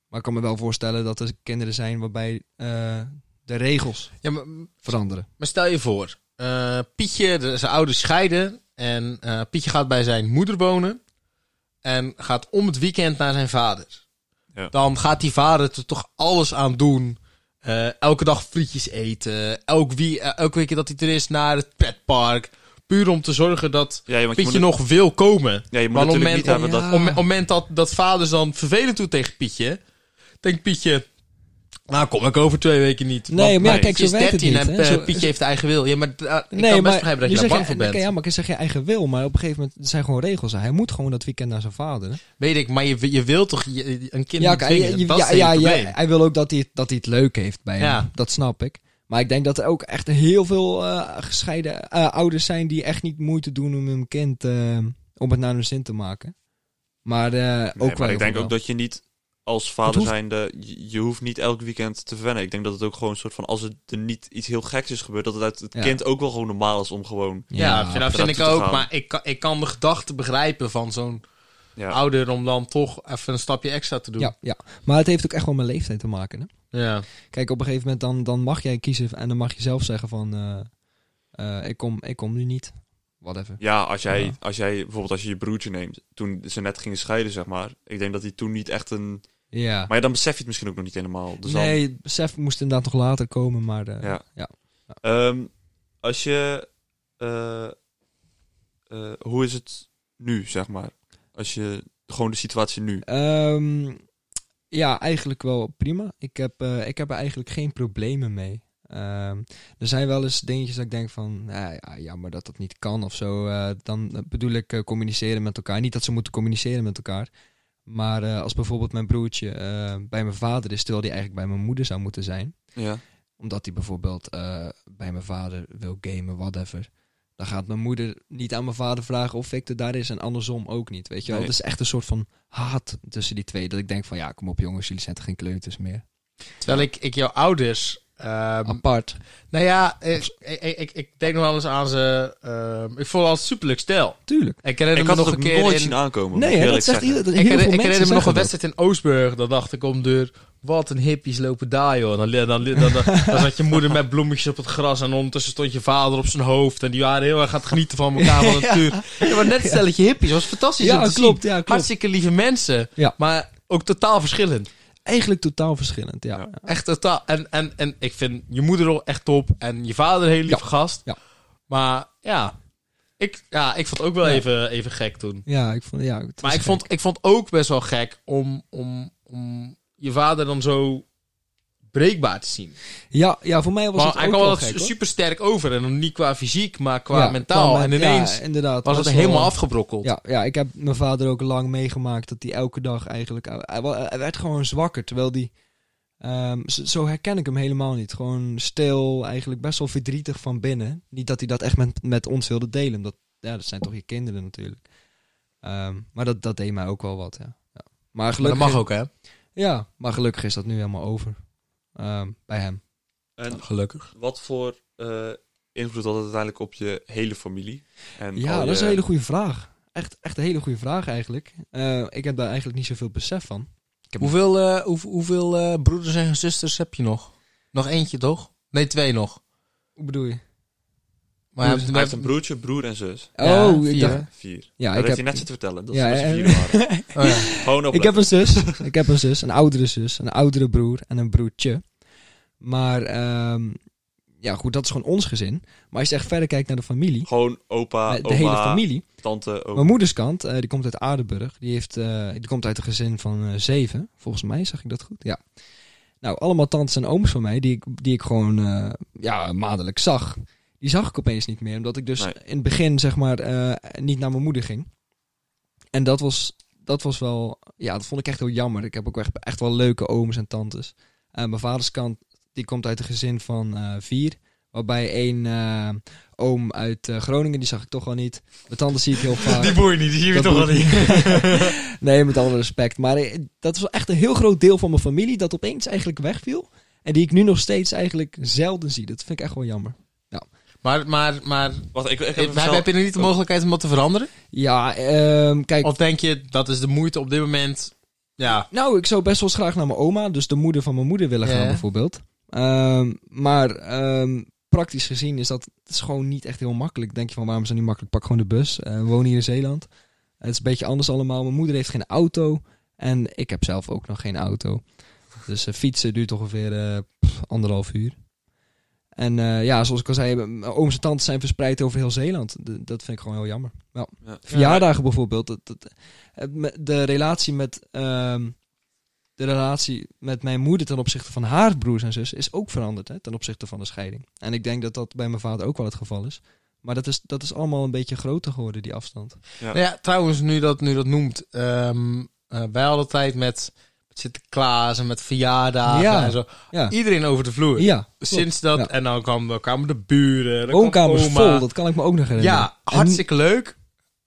C: maar ik kan me wel voorstellen dat er kinderen zijn waarbij eh, de regels
A: ja maar,
C: veranderen.
A: maar stel je voor, eh, Pietje, de- zijn ouders scheiden. En eh, Pietje gaat bij zijn moeder wonen. En gaat om het weekend naar zijn vader.
B: Ja.
A: Dan gaat die vader er toch alles aan doen. Eh, elke dag frietjes eten. Elk wie, eh, elke week dat hij er is naar het pretpark. Puur om te zorgen dat
B: Ja, want je moet,
A: Pietje nog wil komen.
B: ja, je moet
A: Maar op het
B: natuurlijk
A: moment,
B: niet hebben
A: op,
B: dat...
A: op
C: Ah.
A: het moment dat, dat vaders dan vervelend doet tegen Pietje, denkt Pietje, nou kom ik over twee weken niet.
C: Nee,
A: Want
C: maar ja,
A: Pietje
C: kijk, zo
A: is
C: werkt het
A: 13
C: niet,
A: en
C: hè.
A: eh,
C: Zo-
A: Pietje heeft eigen wil. Ja, maar eh, ik kan best begrijpen dat je daar
C: nu zeg
A: bang voor bent.
C: Ja, maar ik zeg je eigen wil, maar op een gegeven moment zijn gewoon regels. Hij moet gewoon dat weekend naar zijn vader.
A: Weet ik, maar je, je wilt toch je- een kind
C: Ja,
A: niet
C: oké,
A: dwingen?
C: je- je-
A: dat
C: ja,
A: is
C: ja,
A: het
C: ja,
A: probleem.
C: hij wil ook dat hij, het- dat hij het leuk heeft bij
A: Ja.
C: hem. Dat snap ik. Maar ik denk dat er ook echt heel veel eh, gescheiden eh, ouders zijn die echt niet moeite doen om hun kind eh, om het naar hun zin te maken. Maar eh, ook
B: Nee,
C: wel.
B: maar ik
C: heel
B: denk
C: veel
B: ook dat je niet als
C: Het
B: vader
C: hoeft-
B: zijnde, je, je hoeft niet elk weekend te verwennen. Ik denk dat het ook gewoon een soort van, als het er niet iets heel geks is gebeurd, dat het uit het
C: Ja.
B: kind ook wel gewoon normaal is om gewoon...
C: wel.
A: Ja, vind- dat vind
B: dat
A: ik
B: toe te
A: ook.
B: gaan.
A: Maar ik kan, ik kan de gedachte begrijpen van zo'n
B: Ja.
A: ouder om dan toch even een stapje extra te doen.
C: ja, ja. Maar het heeft ook echt wel met leeftijd te maken. Hè?
A: ja.
C: Kijk, op een gegeven moment dan, dan mag jij kiezen en dan mag je zelf zeggen van eh, eh, ik, kom, ik kom nu niet. Whatever.
B: Ja, als jij,
C: Ja.
B: als jij bijvoorbeeld als je je broertje neemt, toen ze net gingen scheiden, zeg maar. Ik denk dat hij toen niet echt een.
C: Ja.
B: Maar ja, dan besef je het misschien ook nog niet helemaal. Dus
C: nee, het besef moest inderdaad nog later komen, maar eh,
B: Ja.
C: ja.
B: dan, Ehm, als je. eh, eh, hoe is het nu, zeg maar? Als je gewoon de situatie nu.
C: Ehm, ja, eigenlijk wel prima. Ik heb, eh, ik heb er eigenlijk geen problemen mee. Ehm, er zijn wel eens dingetjes dat ik denk van, nou ja, jammer dat dat niet kan of zo. Eh, dan eh, bedoel ik eh, communiceren met elkaar. Niet dat ze moeten communiceren met elkaar. Maar eh, als bijvoorbeeld mijn broertje eh, bij mijn vader is, terwijl die eigenlijk bij mijn moeder zou moeten zijn.
B: Ja.
C: Omdat hij bijvoorbeeld eh, bij mijn vader wil gamen, whatever. Dan gaat mijn moeder niet aan mijn vader vragen of ik er daar is. En andersom ook niet, weet je wel.
B: Nee.
C: Het is echt een soort van haat tussen die twee. Dat ik denk van, ja, kom op jongens, jullie zijn toch geen kleuters meer.
A: Terwijl ik, ik jouw ouders... ehm,
C: Apart.
A: Nou ja, ik, ik, ik, ik denk nog wel eens aan ze. ehm, ik vond het altijd superleuk stel.
C: Tuurlijk.
A: Ik herinner
B: ik
A: me
B: had het
A: nog
B: ook
A: een keer.
B: nooit
A: In,
B: zien aankomen. moet
C: Nee,
B: ik
C: hè,
B: eerlijk
C: dat zegt
B: zeggen.
C: ieder, dat
A: ik,
C: heel
A: herinner-
C: veel
A: ik
C: mensen
A: herinner me nog een
C: zeggen dat.
A: wedstrijd in Oostburg. Dan dacht ik om de deur. Wat een hippies lopen daar, joh. Dan, dan, dan, dan, dan zat je moeder met bloemetjes op het gras. En ondertussen stond je vader op zijn hoofd. En die waren heel erg aan het genieten van elkaar.
C: [LAUGHS]
A: Van de natuur. Ja, maar net een stelletje hippies. was fantastisch. om
C: Ja,
A: te zien.
C: klopt, ja, klopt.
A: Hartstikke lieve mensen.
C: Ja.
A: Maar ook totaal verschillend.
C: Eigenlijk totaal verschillend, ja.
B: Ja.
A: Echt totaal. En, en, en ik vind je moeder al echt top. En je vader een hele lieve
C: Ja.
A: gast.
C: Ja.
A: Maar ja ik, ja, ik vond het ook wel
C: Ja.
A: even, even gek toen.
C: Ja, ik vond, ja, het was
A: Maar ik
C: gek.
A: vond, ik vond ook best wel gek om, om, om je vader dan zo breekbaar te zien.
C: Ja, ja, voor mij was
A: Maar
C: het
A: hij
C: ook
A: kwam
C: wel
A: wel
C: gek, hoor.
A: super sterk over. En dan niet qua fysiek, maar qua
C: Ja,
A: mentaal.
C: qua
A: en
C: men- ja,
A: ineens
C: inderdaad,
A: was eh, het
C: wel-
A: helemaal afgebrokkeld.
C: Ja, ja, ik heb mijn vader ook lang meegemaakt dat hij elke dag eigenlijk... Hij, wa- hij werd gewoon zwakker, terwijl die... ehm, z- zo herken ik hem helemaal niet. Gewoon stil, eigenlijk best wel verdrietig van binnen. Niet dat hij dat echt met, met ons wilde delen. Omdat, ja, dat zijn toch je kinderen natuurlijk. Ehm, maar dat, dat deed mij ook wel wat, ja. ja. Maar
A: Maar dat
C: gelukkig,
A: mag ook, hè?
C: Ja, maar gelukkig is dat nu helemaal over. Ehm, bij hem.
B: En
A: Gelukkig.
B: wat voor eh, invloed had het uiteindelijk op je hele familie? En
C: Ja,
B: al
C: dat
B: je-
C: is een hele goede vraag. Echt, echt een hele goede vraag eigenlijk. Eh, ik heb daar eigenlijk niet zoveel besef van.
A: Hoeveel, eh, hoe- hoeveel eh, broeders en zusters heb je nog? Nog eentje, toch? Nee, twee nog.
C: Hoe bedoel je?
A: Maar hij
C: Broers-
A: heeft-
B: Hij heeft een broertje, broer en zus.
A: Ja,
C: oh, ik
A: vier,
C: dacht-
A: hè?
B: Vier.
C: Ja,
B: dat
C: ik
B: heeft
C: heb,
B: hij net zitten vertellen. Dat
C: Ja,
B: ze
C: en-
B: met z'n vieren waren.
A: Oh, ja.
B: Gewoon op.
C: [LAUGHS] ik heb een zus. ik heb een zus, een oudere zus, een oudere broer en een broertje. Maar ehm, ja, goed, dat is gewoon ons gezin. Maar als je echt verder kijkt naar de familie,
B: Gewoon opa,
C: eh, de
B: Ah, oma, Oh.
C: hele familie.
B: tante, oma.
C: Mijn moeders kant, eh, die komt uit Aardenburg. Die, heeft, eh, die komt uit een gezin van eh, zeven. Volgens mij zag ik dat goed. Ja. Nou, allemaal tantes en ooms van mij, die ik, die ik gewoon eh, ja, maandelijks zag. Die zag ik opeens niet meer. Omdat ik dus
B: Nee.
C: in het begin, zeg maar, eh, niet naar mijn moeder ging. En dat was, dat was wel, ja, dat vond ik echt heel jammer. Ik heb ook echt, echt wel leuke ooms en tantes. Eh, mijn vaders kant, die komt uit een gezin van eh, vier. Waarbij één eh, oom uit eh, Groningen, die zag ik toch al niet. Mijn tante zie ik
A: [LAUGHS]
C: heel vaak.
A: boer niet, [LAUGHS] die zie
C: Dat doe ik
A: [LAUGHS]
C: nee, met alle respect. Maar eh, dat is wel echt een heel groot deel van mijn familie dat opeens eigenlijk wegviel. En die ik nu nog steeds eigenlijk zelden zie. Dat vind ik echt wel jammer.
A: Maar, maar, maar
B: Wacht, ik, ik heb
A: heb,
B: een verhaal-
A: heb je er niet de mogelijkheid om dat te veranderen?
C: Ja, ehm, kijk.
A: Of denk je, dat is de moeite op dit moment? Ja.
C: Nou, ik zou best wel eens graag naar mijn oma, dus de moeder van mijn moeder willen gaan
A: Ja.
C: bijvoorbeeld. Ehm, maar ehm, praktisch gezien is dat het is gewoon niet echt heel makkelijk. Denk je van waarom is dat niet makkelijk? Pak gewoon de bus. Eh, we wonen hier in Zeeland. Het is een beetje anders allemaal. Mijn moeder heeft geen auto en ik heb zelf ook nog geen auto. Dus eh, fietsen duurt ongeveer eh, pff, anderhalf uur. En eh, ja, zoals ik al zei, mijn ooms en tantes zijn verspreid over heel Zeeland. D- dat vind ik gewoon heel jammer. Ja.
B: Ja.
C: Verjaardagen bijvoorbeeld. Dat, dat, het me- de relatie met... ehm, de relatie met mijn moeder ten opzichte van haar broers en zus is ook veranderd hè, ten opzichte van de scheiding. En ik denk dat dat bij mijn vader ook wel het geval is. Maar dat is, dat is allemaal een beetje groter geworden, die afstand.
B: Ja.
A: Nou ja, trouwens, nu dat, nu dat noemt. ehm, eh, wij hadden tijd met Sinterklaas en met verjaardagen
C: Ja.
A: en zo.
C: Ja,
A: Iedereen over de vloer.
C: ja klopt.
A: Sinds dat,
C: Ja.
A: en dan kwamen, dan kwamen de buren. dan
C: Woonkamers
A: kwam oma.
C: vol, dat kan ik me ook nog herinneren.
A: Ja, hartstikke leuk.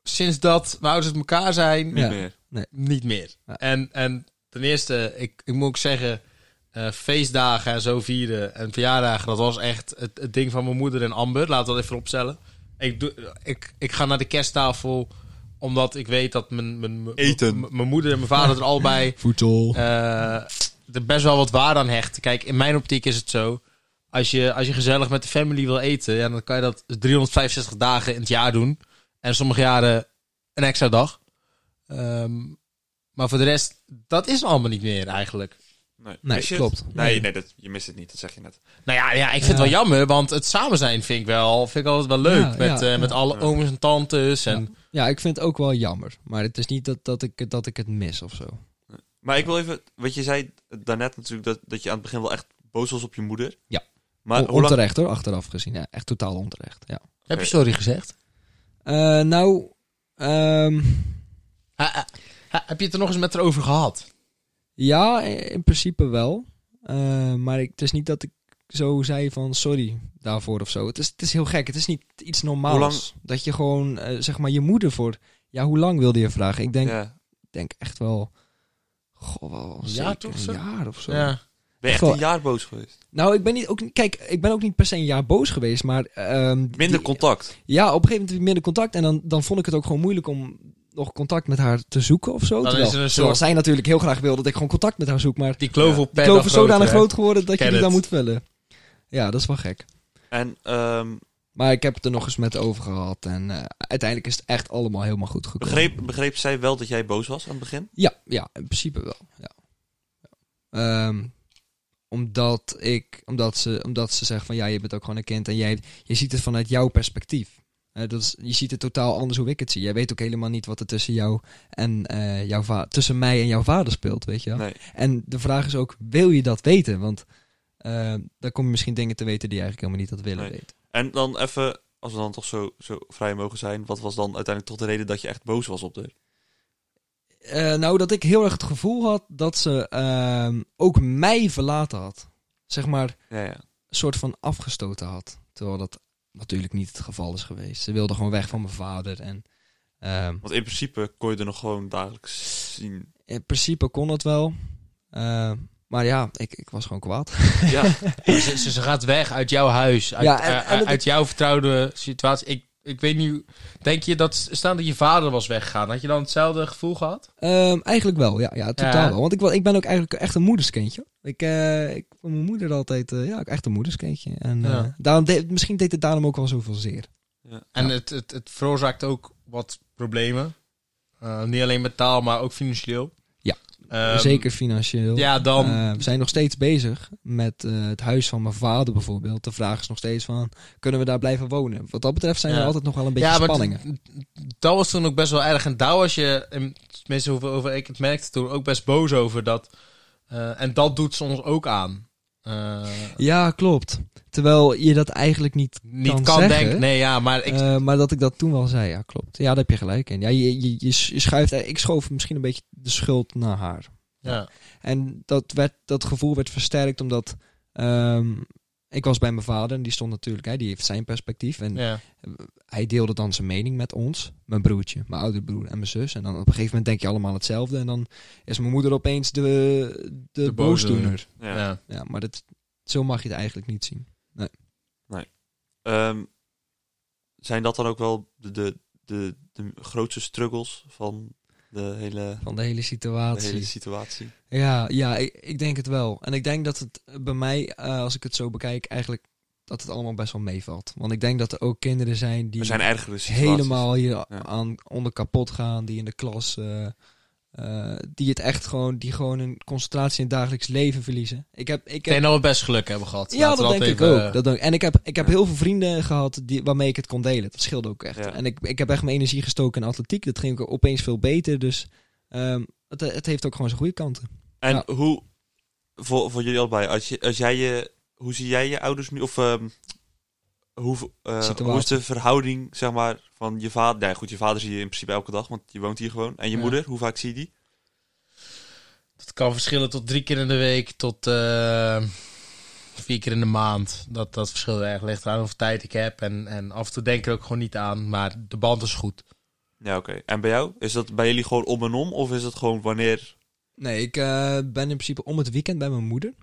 A: Sinds dat we ouders het elkaar zijn,
B: Niet
C: Ja.
B: meer.
A: niet meer.
C: Ja.
A: En, en ten eerste, ik, ik moet ook zeggen, eh, feestdagen en zo vieren en verjaardagen, dat was echt het, het ding van mijn moeder en Amber. Laten we dat even opstellen. Ik, doe, ik, ik ga naar de kersttafel omdat ik weet dat mijn, mijn, mijn-
B: Eten.
A: mijn- mijn moeder en mijn vader er allebei
C: Voedsel.
A: eh, er best wel wat waar aan hecht. Kijk, in mijn optiek is het zo. Als je, als je gezellig met de family wil eten, ja, dan kan je dat 365 dagen in het jaar doen. En sommige jaren een extra dag. Ehm, maar voor de rest, dat is allemaal niet meer eigenlijk.
B: Nee,
C: Nee,
B: Mis je
C: klopt.
B: het? Nee,
C: Nee.
B: nee dat, je mist het niet, dat zeg je net.
A: Nou ja, ja ik vind het wel
C: Ja.
A: jammer, want het samen zijn vind ik, wel, vind ik altijd wel leuk.
C: Ja,
A: met
C: ja,
A: eh,
C: ja.
A: met alle
B: Ja.
A: ooms en tantes. En,
C: Ja, ik vind het ook wel jammer. Maar het is niet dat, dat, ik, dat ik het mis of zo.
B: Maar ik wil even, wat je zei daarnet natuurlijk, dat, dat je aan het begin wel echt boos was op je moeder.
C: Ja.
B: Maar
C: On-
B: hoe lang...
C: onterecht hoor, achteraf gezien. Ja, echt totaal onterecht. Ja.
A: Heb je sorry gezegd?
C: Eh, nou, ehm,
A: Ha- ha- ha- heb je het er nog eens met haar over gehad?
C: ja, in principe wel. Eh, maar ik, het is niet dat ik zo zei van sorry daarvoor of zo. Het is, het is heel gek. Het is niet iets normaals.
B: Hoe lang-
C: Dat je gewoon, eh, zeg maar, je moeder voor... Ja, hoe lang wilde je vragen? Ik denk,
B: Ja.
C: denk echt wel... Goh, wel
A: Ja,
C: zeker
A: toch, zo?
C: een jaar of zo.
A: Ja.
B: Ben je echt
C: Goh.
B: een jaar boos geweest?
C: Nou, ik ben niet ook niet- kijk, ik ben ook niet per se een jaar boos geweest, maar ehm,
B: Minder
C: die-
B: contact.
C: Ja, op een gegeven moment heb ik minder contact en dan, dan vond ik het ook gewoon moeilijk om nog contact met haar te zoeken of zo.
A: Dan
C: terwijl,
A: is er een soort-
C: terwijl zij natuurlijk heel graag wil dat ik gewoon contact met haar zoek, maar
A: Die kloof
B: Ja.
A: op
C: die
A: per
C: kloof
A: dag
C: is zodanig
A: groter, hè?
C: groot geworden dat
A: Ken
C: je die dan
A: het.
C: moet vullen. Ja, dat is wel gek.
B: En ehm,
C: Maar ik heb het er nog eens met over gehad en eh, uiteindelijk is het echt allemaal helemaal goed gekomen.
B: begreep, begreep zij wel dat jij boos was aan het begin?
C: Ja, ja, in principe wel. Ja. Ja. Ehm, omdat ik, omdat ze, omdat ze zegt van ja, je bent ook gewoon een kind en jij, je ziet het vanuit jouw perspectief. Eh, dat is, je ziet het totaal anders hoe ik het zie. Jij weet ook helemaal niet wat er tussen jou en eh, jouw va- tussen mij en jouw vader speelt, weet je wel.
B: Nee.
C: En de vraag is ook, wil je dat weten? Want eh, dan kom je misschien dingen te weten die je eigenlijk helemaal niet had willen
B: Nee.
C: weten.
B: En dan even, als we dan toch zo, zo vrij mogen zijn, wat was dan uiteindelijk toch de reden dat je echt boos was op de?
C: Eh, nou, dat ik heel erg het gevoel had dat ze ehm, ook mij verlaten had. Zeg maar,
B: Ja, ja.
C: een soort van afgestoten had. Terwijl dat natuurlijk niet het geval is geweest. Ze wilde gewoon weg van mijn vader. En ehm,
B: Want in principe kon je er nog gewoon dagelijks zien.
C: in principe kon dat wel. Ehm, maar ja, ik, ik was gewoon kwaad.
B: [LAUGHS]
C: [LAUGHS]
B: Ja,
A: Ze, ze- ze gaat weg uit jouw huis, uit,
C: Ja, en-
A: eh,
C: en het-
A: uit jouw vertrouwde situatie. Ik, ik weet niet, denk je dat, staan dat je vader was weggegaan, had je dan hetzelfde gevoel gehad?
C: Ehm, eigenlijk wel, ja, ja totaal
A: Ja.
C: wel. Want ik, wa- ik ben ook eigenlijk echt een moederskindje. Ik, eh, ik vond mijn moeder altijd eh, ja, ook echt een moederskindje. En
A: Ja.
C: eh, daarom deed- misschien deed het daarom ook wel zoveel zeer.
A: En
C: Ja.
A: het, het, het veroorzaakt ook wat problemen. Eh, niet alleen met taal, maar ook financieel.
C: Ja.
A: Ehm,
C: Zeker financieel.
A: Ja, dan.
C: Eh, we zijn nog steeds bezig met eh, het huis van mijn vader bijvoorbeeld. De vraag is nog steeds van, kunnen we daar blijven wonen? Wat dat betreft zijn
A: Ja.
C: er altijd nog wel een beetje
A: ja, maar
C: spanningen.
A: t- dat was toen ook best wel erg. En daar was je, en tenminste hoeveel over ik het merkte, toen ook best boos over dat. eh, en dat doet soms ook aan. Eh,
C: Ja, klopt. Terwijl je dat eigenlijk niet.
A: niet
C: Kan
A: kan,
C: zeggen.
A: denken. Nee, ja, maar ik,
C: eh, maar dat ik dat toen wel zei, ja, klopt. Ja, daar heb je gelijk in. Ja, je, je, je s- je schuift. eh, Ik schoof misschien een beetje de schuld naar haar.
A: ja.
C: En dat, werd, dat gevoel werd versterkt omdat. ehm, ik was bij mijn vader en die stond natuurlijk, hè, die heeft zijn perspectief. En
A: ja.
C: hij deelde dan zijn mening met ons, mijn broertje, mijn oudere broer en mijn zus. En dan op een gegeven moment denk je allemaal hetzelfde. En dan is mijn moeder opeens de, de,
A: De boze.
C: boosdoener.
B: ja.
A: ja.
C: Ja, maar dat, zo mag je het eigenlijk niet zien.
B: Ehm, zijn dat dan ook wel de, de, de, de grootste struggles van de hele,
C: Van de hele
B: de
C: situatie.
B: hele situatie?
C: Ja, ja ik, ik denk het wel. En ik denk dat het bij mij, eh, als ik het zo bekijk, eigenlijk dat het allemaal best wel meevalt. Want ik denk dat er ook kinderen zijn die
B: Er zijn ergere situaties.
C: helemaal hier aan onder kapot gaan, die in de klas, eh, eh, die het echt gewoon, die gewoon hun concentratie in het dagelijks leven verliezen. Ik heb, ik
A: Ik denk
C: heb
A: dat nou, we best geluk hebben gehad.
C: ja,
A: Laten we
C: dat denk ik
A: even, eh,
C: ook. Dat denk, en ik heb, ik heb heel veel vrienden gehad die, waarmee ik het kon delen. Dat scheelde ook echt.
B: Ja.
C: En ik, ik heb echt mijn energie gestoken in atletiek. Dat ging ook opeens veel beter. Dus ehm, het, het heeft ook gewoon zijn goede kanten.
B: En
C: Ja.
B: hoe, voor, voor jullie allebei, als, je, als jij je, hoe zie jij je ouders nu? Of ehm, hoe, eh,
C: Situatie.
B: hoe is de verhouding, zeg maar, van je vader? Nou ja, goed, je vader zie je in principe elke dag, want je woont hier gewoon. En je
A: Ja.
B: moeder, hoe vaak zie je die?
A: Dat kan verschillen tot drie keer in de week, tot eh, vier keer in de maand. Dat, dat verschilt erg. Ligt eraan hoeveel tijd ik heb. En, en af en toe denk ik er ook gewoon niet aan. Maar de band is goed.
B: Ja, oké. En bij jou? Is dat bij jullie gewoon om en om? Of is het gewoon wanneer?
C: Nee, ik eh, ben in principe om het weekend bij mijn moeder.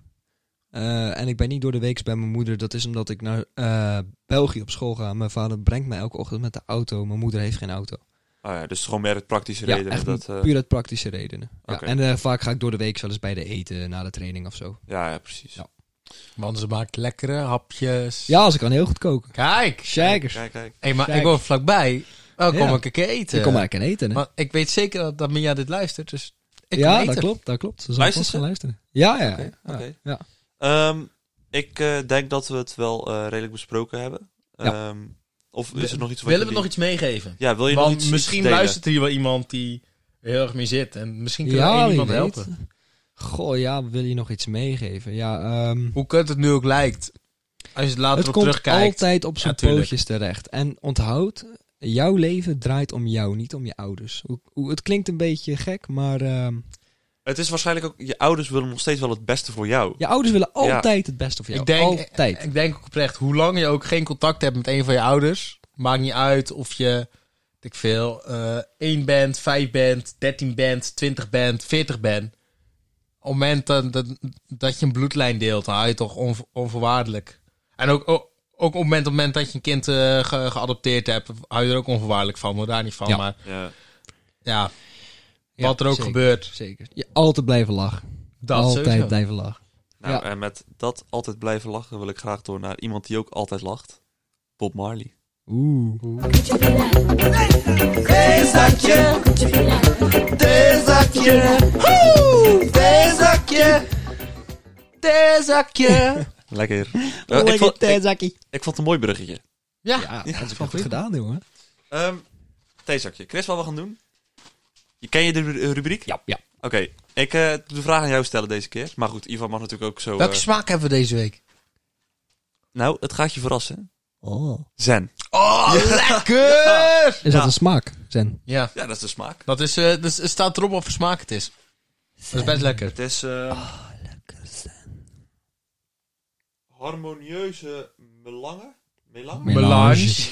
C: Eh, en ik ben niet door de week bij mijn moeder. Dat is omdat ik naar eh, België op school ga. Mijn vader brengt mij elke ochtend met de auto. Mijn moeder heeft geen auto.
B: Ah ja, dus gewoon meer het praktische
C: Ja,
B: reden.
C: echt
B: Dat, eh,
C: Puur uit praktische redenen. Ja,
B: Oké.
C: en eh, vaak ga ik door de week zelfs bij de eten na de training of zo.
B: ja, ja, precies.
C: Ja.
A: Want ze maakt lekkere hapjes.
C: Ja, ze kan heel goed koken.
A: Kijk!
C: Shakers.
B: Kijk, kijk.
A: Hey, maar
C: Kijk.
A: ik woon vlakbij. Nou, kom
C: Ja.
A: ik een keer eten.
C: Ik kom maar en eten. Hè?
A: Want ik weet zeker dat, dat Mia dit luistert. Dus ik
C: ja,
A: kan eten.
C: dat klopt, dat klopt. Ze zal
B: Luistert
C: vast
B: ze?
C: gaan luisteren. Ja, ja.
B: Oké,
C: ja.
B: oké.
C: ja.
B: Ehm, ik eh, denk dat we het wel eh, redelijk besproken hebben.
C: Ja.
B: Ehm, of
A: Wil-
B: is er nog iets wat
A: Willen we
B: jullie-
A: nog iets meegeven?
B: Ja, wil je nog
A: Want
B: iets
A: misschien
B: iets delen?
A: luistert hier wel iemand die er heel erg mee zit. En misschien kunnen
C: Ja,
A: we één
C: wie
A: iemand
C: weet.
A: helpen.
C: Goh, ja, wil je nog iets meegeven? Ja, ehm,
A: hoe kut het nu ook lijkt, als je het later
C: het
A: op
C: komt
A: terugkijkt.
C: altijd op zijn
A: Ja, tuurlijk.
C: pootjes terecht. En onthoud, jouw leven draait om jou, niet om je ouders. Hoe, hoe, het klinkt een beetje gek, maar ehm,
B: Het is waarschijnlijk ook, je ouders willen nog steeds wel het beste voor jou.
C: je ouders willen
B: Ja.
C: altijd het beste voor jou.
A: Ik denk, eh,
C: altijd.
A: ik denk ook oprecht, hoe lang je ook geen contact hebt met een van je ouders, maakt niet uit of je, weet ik veel, eh 1 bent, 5 bent, 13 bent, 20 bent, 40 bent. Op het moment dat, dat, dat je een bloedlijn deelt, dan hou je het toch onvo- onvoorwaardelijk. En ook, ook, ook op, het moment, op het moment dat je een kind eh, ge- geadopteerd hebt, hou je er ook onvoorwaardelijk van, hoor daar niet van.
C: Ja.
A: Maar
B: Ja.
A: ja,
C: Ja,
A: wat er ook
C: zeker,
A: gebeurt,
C: Zeker. Je altijd blijven lachen.
A: dat
C: altijd
A: sowieso.
C: blijven lachen.
B: Nou,
C: Ja.
B: en met dat altijd blijven lachen wil ik graag door naar iemand die ook altijd lacht. Bob Marley.
C: Oeh.
A: theezakje.
B: Lekker. Eh, ik,
C: Lekker
B: vond, ik,
C: theezakkie.
B: ik vond het een mooi bruggetje.
A: Ja,
C: Ja,
B: ja,
C: dat is wel
B: van
C: goed gedaan, jongen.
B: Ehm theezakje. Chris, wat we gaan doen? Je, ken je de ru- rubriek?
C: Ja, ja.
B: Oké, ik eh, doe de vraag aan jou stellen deze keer. Maar goed, Ivan mag natuurlijk ook zo...
A: Welke
B: eh,
A: smaak hebben we deze week?
B: nou, het gaat je verrassen.
A: Oh,
B: Zen.
D: Oh, lekker!
C: Is dat een smaak, Zen?
A: ja.
B: Ja, dat is de smaak.
A: Dat is, eh, dus, het staat erop wat voor smaak het is. Dat is best lekker.
B: Het is... ehm, Harmonieuze melange? Melange?
D: Melange.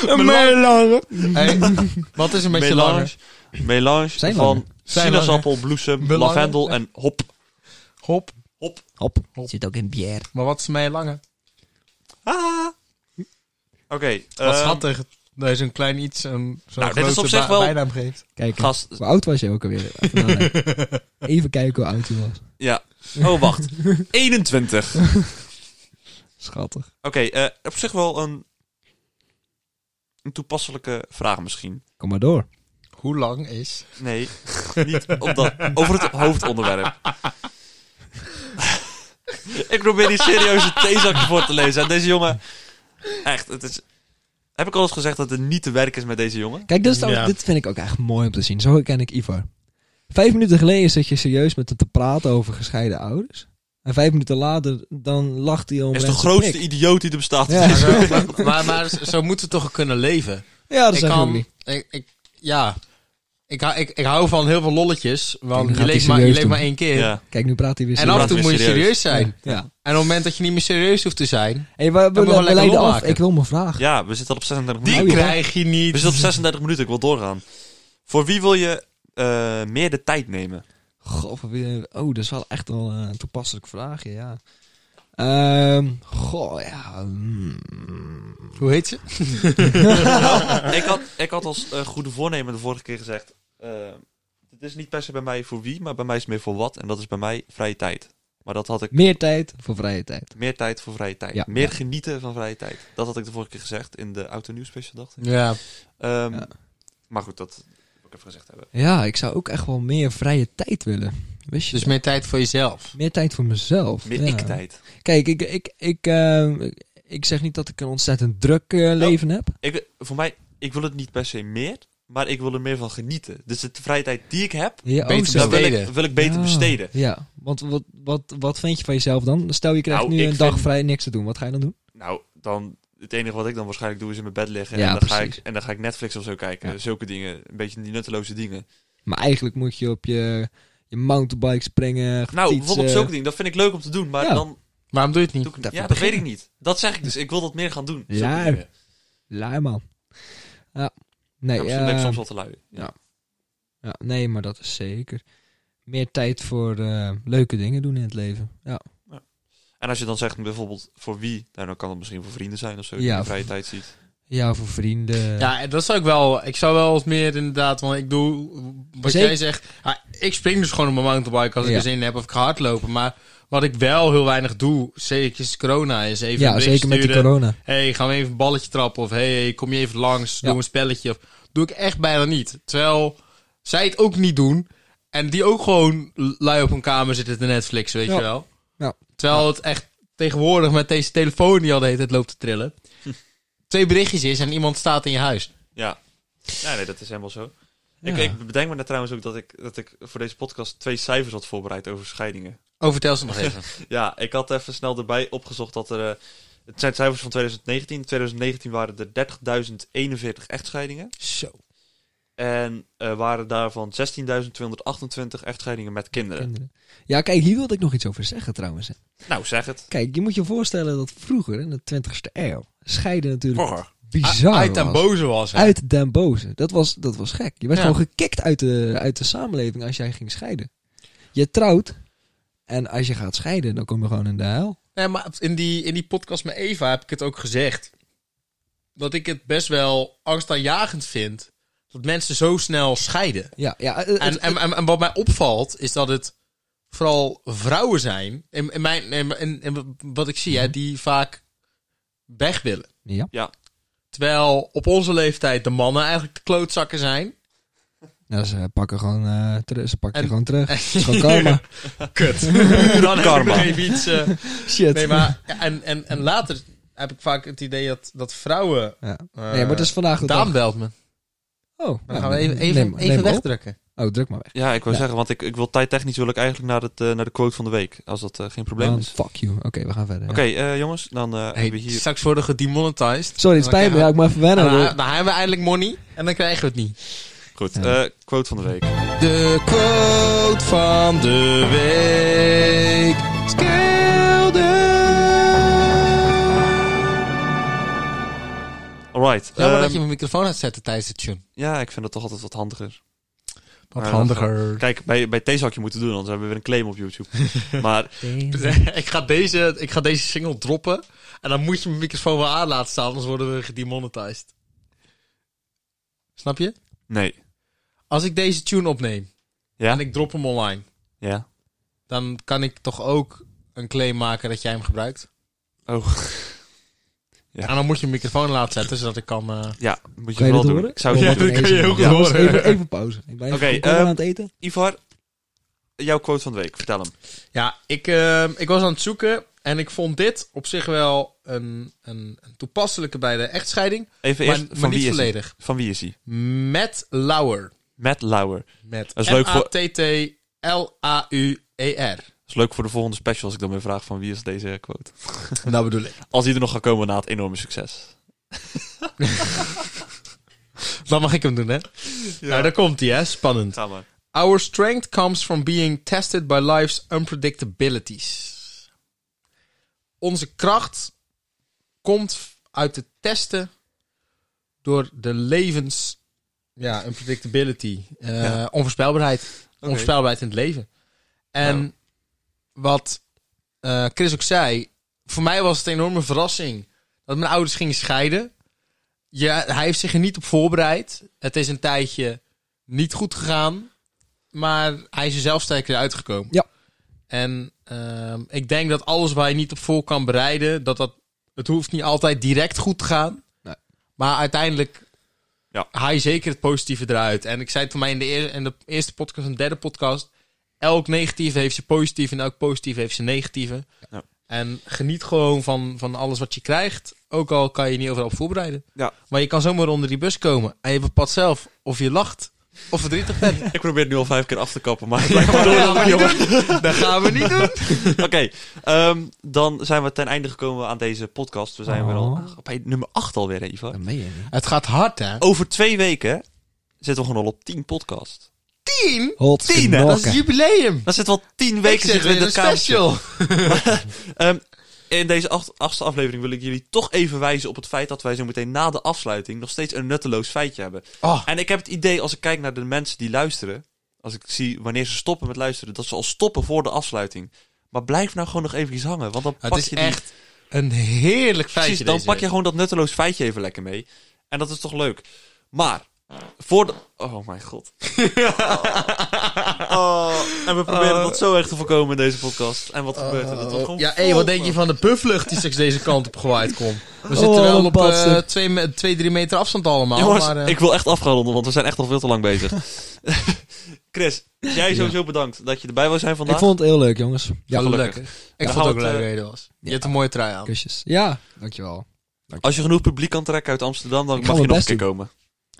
B: Melange.
C: Een melange.
A: Hey, wat is een beetje
B: Melange.
A: langer?
B: Melange
C: Zijn
B: van
C: langer.
A: Zijn
B: sinaasappel, bloesem,
A: Belangen.
B: lavendel en hop.
D: Hop.
A: Hop.
C: Zit ook in bier.
D: Maar wat is mij langer?
B: Ah. Oké.
D: Wat
B: ehm,
D: schattig dat je zo'n klein iets
A: ehm,
D: een zo'n
B: Nou, dit is
D: grote
B: op zich
D: ba-
B: wel-
D: bijnaam geeft.
C: Kijk, eens.
B: Gast,
C: hoe oud was je ook
A: [LAUGHS]
C: alweer? Even nadenken. Even kijken hoe oud je was.
B: ja.
D: [LAUGHS]
B: Oh, wacht. 21. Oké,
C: Schattig.
B: eh, op zich wel een, een toepasselijke vraag misschien.
C: Kom maar door.
D: Hoe lang is...
B: Nee, niet op dat, over het hoofdonderwerp. [LAUGHS] ik probeer die serieuze theezakje voor te lezen. En deze jongen... Echt, het is... Heb ik al eens gezegd dat het niet te werk is met deze jongen?
C: Kijk, dit, is trouwens-
D: Ja.
C: dit vind ik ook echt mooi om te zien. Zo ken ik Ivar. Vijf minuten geleden zat je serieus met hem te praten over gescheiden ouders. En vijf minuten later, dan lacht hij om
B: Hij is de
C: mensen
B: grootste
C: prik.
B: idioot die er bestaat.
C: Ja.
B: [LAUGHS] Ja.
A: maar, maar, maar zo moeten we toch ook kunnen leven?
C: Ja, dat
A: ik
C: is ook
A: kan...
C: niet.
A: Ik, ik, ja. Ik, hou- ik, ik hou van heel veel lolletjes,
C: dan
A: want je
C: gaat
A: leeft,
C: hij
A: maar, je
C: serieus
A: leeft
C: doen.
A: maar één keer.
C: Kijk, nu praat hij weer
A: En af en
B: praat
A: toe
B: weer
A: moet je serieus
B: serieus.
A: zijn.
C: Ja.
A: En op het moment dat je niet meer serieus hoeft te zijn,
C: Hey, we, we,
A: moet je
C: we
A: lekker
C: leiden af.
A: lolmaken.
C: Ik wil mijn vraag.
B: Ja, we zitten al op 36
A: die
B: minuten.
C: ja.
A: krijg je niet.
B: We zitten op 36 minuten, ik wil doorgaan. Voor wie wil je eh, meer de tijd nemen?
C: Goh, voor wie- oh, dat is wel echt wel eh, een toepasselijk vraagje, ja. Ehm, goh, ja. mm.
A: Hoe heet ze?
B: ik, had, ik had als eh, goede voornemen de vorige keer gezegd... eh, het is niet per se bij mij voor wie, maar bij mij is het meer voor wat. En dat is bij mij vrije tijd. Maar dat had ik...
C: Meer tijd voor vrije tijd.
B: Meer tijd voor vrije tijd.
C: Ja.
B: meer genieten van vrije tijd. Dat had ik de vorige keer gezegd in de auto nieuwspecial, dacht ik.
A: Ja.
B: Ehm,
C: Ja.
B: Maar goed, dat wil ik even gezegd hebben.
C: Ja, ik zou ook echt wel meer vrije tijd willen. Wist je
A: Dus
C: dat?
A: meer tijd voor jezelf.
C: meer tijd voor mezelf.
B: Meer
C: ja.
B: ik-tijd.
C: Kijk, ik, ik, ik, ehm, ik zeg niet dat ik een ontzettend druk eh,
B: Oh.
C: leven heb.
B: Ik, voor mij, ik wil het niet per se meer, maar ik wil er meer van genieten. Dus de vrije tijd die ik heb,
C: Ja,
A: Beter
C: zo.
B: dat wil ik,
A: Besteden.
B: wil ik beter
C: Ja.
B: besteden.
C: Ja, want wat, wat, wat vind je van jezelf dan? Stel je krijgt
B: Nou,
C: nu
B: ik
C: een dag
B: vind-
C: vrij niks te doen. Wat ga je dan doen?
B: Nou, dan het enige wat ik dan waarschijnlijk doe is in mijn bed liggen
C: Ja,
B: en, dan ga ik,
C: precies.
B: en dan ga ik Netflix of zo kijken.
C: Ja.
B: Zulke dingen, een beetje die nutteloze dingen.
C: Maar eigenlijk moet je op je, je mountainbike springen.
B: Nou,
C: fietsen.
B: bijvoorbeeld zulke dingen, dat vind ik leuk om te doen, maar
C: Ja.
B: dan
A: Waarom doe je het niet?
B: doe ik
C: Dat
B: Ja,
C: moet
B: dat weet ik
C: beginnen.
B: niet. Dat zeg ik dus. Ik wil dat meer gaan doen. zulke
C: Ja.
B: dingen.
C: Lui man. Ja.
B: Ja,
C: Nee,
B: misschien ben ik
C: eh,
B: soms wel te lui. Ja.
C: ja. ja, nee, maar dat is zeker. Meer tijd voor eh, leuke dingen doen in het leven. Ja,
B: En als je dan zegt bijvoorbeeld voor wie, nou, dan kan het misschien voor vrienden zijn of zo,
C: Ja,
B: die je in
C: voor-
B: vrije tijd ziet.
C: ja voor vrienden.
A: Ja, en dat zou ik wel. Ik zou wel wat meer inderdaad, want ik doe wat
C: Zeker.
A: jij zegt. ah, ik spring dus gewoon op mijn mountainbike als ik
C: Ja.
A: er zin in heb of ik ga hardlopen. Maar wat ik wel heel weinig doe, zeker is corona, is even een
C: ja
A: bericht
C: zeker met die
A: sturen.
C: corona.
A: hey, gaan we even een balletje trappen? Of hey, kom je even langs?
C: Ja.
A: Doe een spelletje? Of, doe ik echt bijna niet. Terwijl zij het ook niet doen. En die ook gewoon lui op hun kamer zitten te Netflix, weet
C: Ja.
A: je wel.
C: Ja.
A: Terwijl het echt tegenwoordig met deze telefoon die al de hele tijd loopt te
C: [LAUGHS]
A: trillen. Twee berichtjes is en iemand staat in je huis.
B: Ja. ja, nee, dat is helemaal zo. Ik,
C: Ja.
B: ik bedenk me net trouwens ook dat ik, dat ik voor deze podcast twee cijfers had voorbereid over scheidingen.
A: Oh, vertel ze nog even.
B: Ja, ik had even snel erbij opgezocht dat er. eh, het zijn cijfers van 2019. In 2019 waren er 30.041 echtscheidingen.
A: Zo.
B: En eh, waren daarvan 16.228 echtscheidingen met
A: eh,
B: kinderen.
C: kinderen. Ja, kijk, hier wilde ik nog iets over zeggen trouwens. hè.
B: Nou, zeg het.
C: Kijk, je moet je voorstellen dat vroeger, in de 20ste eeuw, scheiden natuurlijk
B: Vroeger.
C: bizar
A: Oh, uit
C: was.
A: en boze was hij.
C: Uit den boze. Dat was, dat was gek. Je werd
A: Ja.
C: gewoon gekikt uit de, uit de samenleving als jij ging scheiden. Je trouwt en als je gaat scheiden, dan kom je gewoon in de hel.
A: Nee, maar in die, in die podcast met Eva heb ik het ook gezegd. Dat ik het best wel angstaanjagend vind. Dat mensen zo snel scheiden.
C: Ja, ja. eh, het-
A: En, en, en, en wat mij opvalt is dat het vooral vrouwen zijn. In, in mijn, in, in- in wat ik
C: Mhm.
A: zie, hè, die vaak weg willen.
C: ja.
A: Terwijl op onze leeftijd de mannen eigenlijk de klootzakken zijn.
C: Nou, ze pakken gewoon eh, terug. Ze pakken
A: En-
C: je gewoon terug. [LAUGHS] Het is gewoon karma.
A: [LAUGHS] Kut. Dan heb ik nog
B: Karma.
A: even iets.
C: [LAUGHS]
A: eh,
C: [LAUGHS] Shit.
A: nee, maar, ja, en, en, en later heb ik vaak het idee dat, dat vrouwen.
C: Ja.
A: eh,
C: nee, maar het is vandaag de
A: Daan
C: dag.
A: belt me.
C: Oh,
A: Dan
C: ja,
A: gaan we even, even,
C: neem- neem
A: even
C: op.
A: wegdrukken.
C: Oh, druk maar weg.
B: Ja, ik wil
C: Ja.
B: zeggen, want ik, ik wil tijdtechnisch wil ik eigenlijk naar, het, eh, naar de quote van de week. Als dat eh, geen probleem
C: Dan
B: is.
C: fuck you. Oké, we gaan verder. ja.
B: Oké, eh, jongens, dan eh,
A: Hey,
B: hebben we hier...
A: Straks worden gedemonetized.
C: Sorry, het
A: Dan
C: spijt me. Ja,
A: krijgen
C: ik moet even wennen.
E: nou,
A: we-
C: hoor.
A: Dan, dan hebben we eindelijk money en dan krijgen we het niet.
B: Goed,
C: Ja.
B: eh, quote van de week.
E: De quote van de week.
B: Alright.
A: Jammer
B: ehm,
A: dat je mijn microfoon gaat zetten tijdens het tune.
B: Ja, ik vind het toch altijd wat handiger.
E: Wat
B: Ja,
E: handiger.
B: Kijk, bij, bij deze had je moeten doen, anders hebben we weer een claim op YouTube. maar
A: [LAUGHS] ik, ga deze, ik ga deze single droppen en dan moet je mijn microfoon wel aan laten staan, anders worden we gedemonetized. Snap je?
B: nee.
A: Als ik deze tune opneem
B: Ja?
A: en ik drop hem online,
B: Ja.
A: dan kan ik toch ook een claim maken dat jij hem gebruikt.
B: Oh. [LAUGHS] Ja.
A: En dan moet je een microfoon laten zetten, zodat ik kan... eh,
B: Ja, moet je
C: Kan je
B: wel
C: dat
B: doen.
C: horen?
B: Ik zou het
A: Ja,
B: niet
A: dat
B: doen.
A: kan je heel goed
C: Jongens,
A: horen.
C: Even, even pauze. Ik ben even
B: Oké,
C: komkommer
B: eh,
C: aan het eten.
B: Ivar, jouw quote van de week. Vertel hem.
A: Ja, ik, ehm, ik was aan het zoeken en ik vond dit op zich wel een, een, een toepasselijke bij de echtscheiding,
B: Even
A: maar,
B: eerst, van
A: maar
B: wie
A: niet
B: is hij?
A: volledig.
B: Van wie is hij?
A: Matt Lauer.
B: Matt Lauer.
A: Met
B: Dat is leuk voor-
A: M-A-T-T-L-A-U-E-R. [LAUGHS]
B: Dat is leuk voor de volgende special als ik dan weer vraag van wie is deze quote.
A: Nou bedoel ik.
B: Als die er nog gaat komen na het enorme succes.
A: Dan mag ik hem doen, hè? Nou, daar komt hij, hè? Spannend.
B: Ga maar.
A: Our strength comes from being tested by life's unpredictabilities. Onze kracht komt uit het testen door de levens. Ja, unpredictability. eh,
B: Ja.
A: Onvoorspelbaarheid. Onvoorspelbaarheid in het leven. En
B: Nou.
A: wat eh, Chris ook zei. Voor mij was het een enorme verrassing dat mijn ouders gingen scheiden. Ja, hij heeft zich er niet op voorbereid. Het is een tijdje niet goed gegaan. Maar hij is er zelf sterker uitgekomen.
C: Ja.
A: En ehm, ik denk dat alles waar je niet op voor kan bereiden, dat dat. Het hoeft niet altijd direct goed te gaan.
C: Nee.
A: Maar uiteindelijk
B: Ja.
A: haal je zeker het positieve eruit. En ik zei het voor mij in de, eer- in de eerste podcast en de derde podcast. Elk negatieve heeft zijn positieve en elk positieve heeft zijn negatieve.
B: Ja.
A: En geniet gewoon van, van alles wat je krijgt. Ook al kan je niet overal op voorbereiden.
B: Ja.
A: Maar je kan zomaar onder die bus komen. En je bepaalt zelf of je lacht of verdrietig
B: [LAUGHS]
A: bent.
B: Ik probeer het nu al vijf keer af te kappen, maar [LAUGHS] het blijft maar
A: Dat
B: door.
A: gaan we niet doen. Dat gaan we niet doen.
B: Oké, ehm, dan zijn we ten einde gekomen aan deze podcast. We zijn weer al
C: Oh.
B: bij nummer 8 alweer, hè, Ivar.
C: Dat meen je niet.
A: Het gaat hard, hè?
B: Over twee weken zitten we gewoon al op 10 podcast.
A: 10?
C: Hot
B: Tien, hè?
A: Dat is jubileum.
B: Dan zitten we al 10
A: Ik
B: weken
A: zeg
B: zitten we in
A: weer een
B: dat kamertje.
A: special.
B: Ehm, in deze acht, achtste aflevering wil ik jullie toch even wijzen op het feit dat wij zo meteen na de afsluiting nog steeds een nutteloos feitje hebben.
A: Oh.
B: En ik heb het idee, als ik kijk naar de mensen die luisteren, als ik zie wanneer ze stoppen met luisteren, dat ze al stoppen voor de afsluiting. Maar blijf nou gewoon nog eventjes hangen, want dan
A: Het
B: pak
A: is
B: je die...
A: echt een heerlijk feitje.
B: Precies, dan
A: deze
B: pak je
A: week.
B: gewoon dat nutteloos feitje even lekker mee. En dat is toch leuk. Maar, voor de... Oh mijn god. [LAUGHS] Oh, en we proberen dat zo echt te voorkomen in deze podcast. En wat gebeurt er? Dat wordt gewoon
A: Ja, hé,
B: vol-
A: wat denk je van de pufflucht die straks deze kant op gewaaid komt? We
C: Oh,
A: zitten wel op
C: wat
A: eh,
C: een-
A: twee, me- twee, drie meter afstand allemaal.
B: Jongens,
A: maar, eh,
B: ik wil echt afgeronden, want we zijn echt al veel te lang bezig. [LAUGHS] Chris, jij sowieso bedankt dat je erbij wou zijn vandaag.
C: Ik vond het heel leuk, jongens.
A: ja,
B: gelukkig.
A: leuk. Ik
B: Dan
A: vond het
B: gaan
A: ook
B: we
A: leuk
B: het,
A: dat
B: eh,
A: je er was. Je hebt een mooie trui aan.
C: Kusjes. Ja, dankjewel.
B: Als je genoeg publiek kan trekken uit Amsterdam, dan
C: Ik ga
B: mag je
C: mijn
B: nog een
C: best
B: keer komen.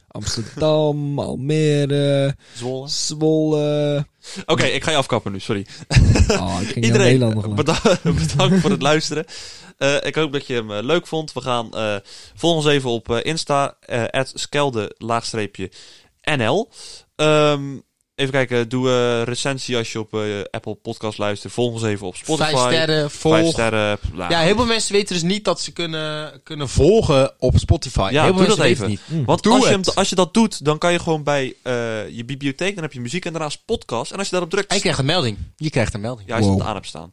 C: Amsterdam, [LAUGHS] Almere,
B: Zwolle.
C: Zwolle.
B: Oké, ik ga je afkappen nu, sorry.
C: Oh, ik ging heel
B: Iedereen, eh,
C: Nederland nog lang.
B: beda- [LAUGHS] bedankt voor het luisteren. Eh, ik hoop dat je hem eh, leuk vond. We gaan, eh, volg ons even op eh, Insta, eh skelde-nl. Ehm, even kijken, doe eh, recensie als je op eh, Apple Podcast luistert. Volg ons even op Spotify.
A: Vijf sterren,
B: Vijf
A: volg.
B: sterren. nou,
A: Ja, heel veel mensen weten dus niet dat ze kunnen, kunnen volgen op Spotify.
B: Ja,
A: heel
B: doe
A: veel
B: dat
A: mensen weten
B: even.
A: het niet.
B: Want
A: Doe
B: als je, hem,
A: het.
B: als je dat doet, dan kan je gewoon bij eh, je bibliotheek, dan heb je muziek en daarnaast podcast. En als je daarop drukt,
A: En je krijgt een melding. Je krijgt een melding.
B: ja, als je
C: Wow.
B: het aan hebt staan,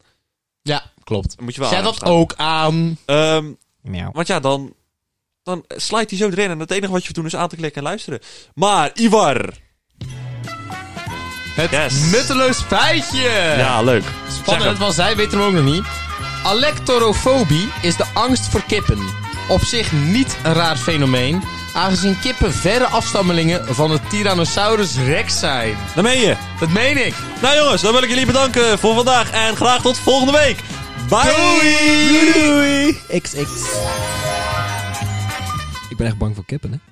A: Ja, klopt.
B: dan moet je wel
A: Zet
B: aan
A: dat
B: hebben
A: ook aan.
B: staan. Ehm,
C: Miauw.
B: want ja, dan, dan slijt hij zo erin en het enige wat je hoeft te doen is aan te klikken en luisteren. Maar, Ivar!
A: Het
B: Yes.
A: nutteloos feitje.
B: Ja, leuk. Eh, Zeg
A: Spannend,
B: hem.
A: want zij weten hem ook nog niet. Alectorofobie is de angst voor kippen. Op zich niet een raar fenomeen, aangezien kippen verre afstammelingen van de Tyrannosaurus rex zijn.
B: Dan ben je.
A: Dat meen ik.
B: Nou jongens, dan wil ik jullie bedanken voor vandaag en graag tot volgende week. Bye!
C: XX. Ik ben echt bang voor kippen, hè.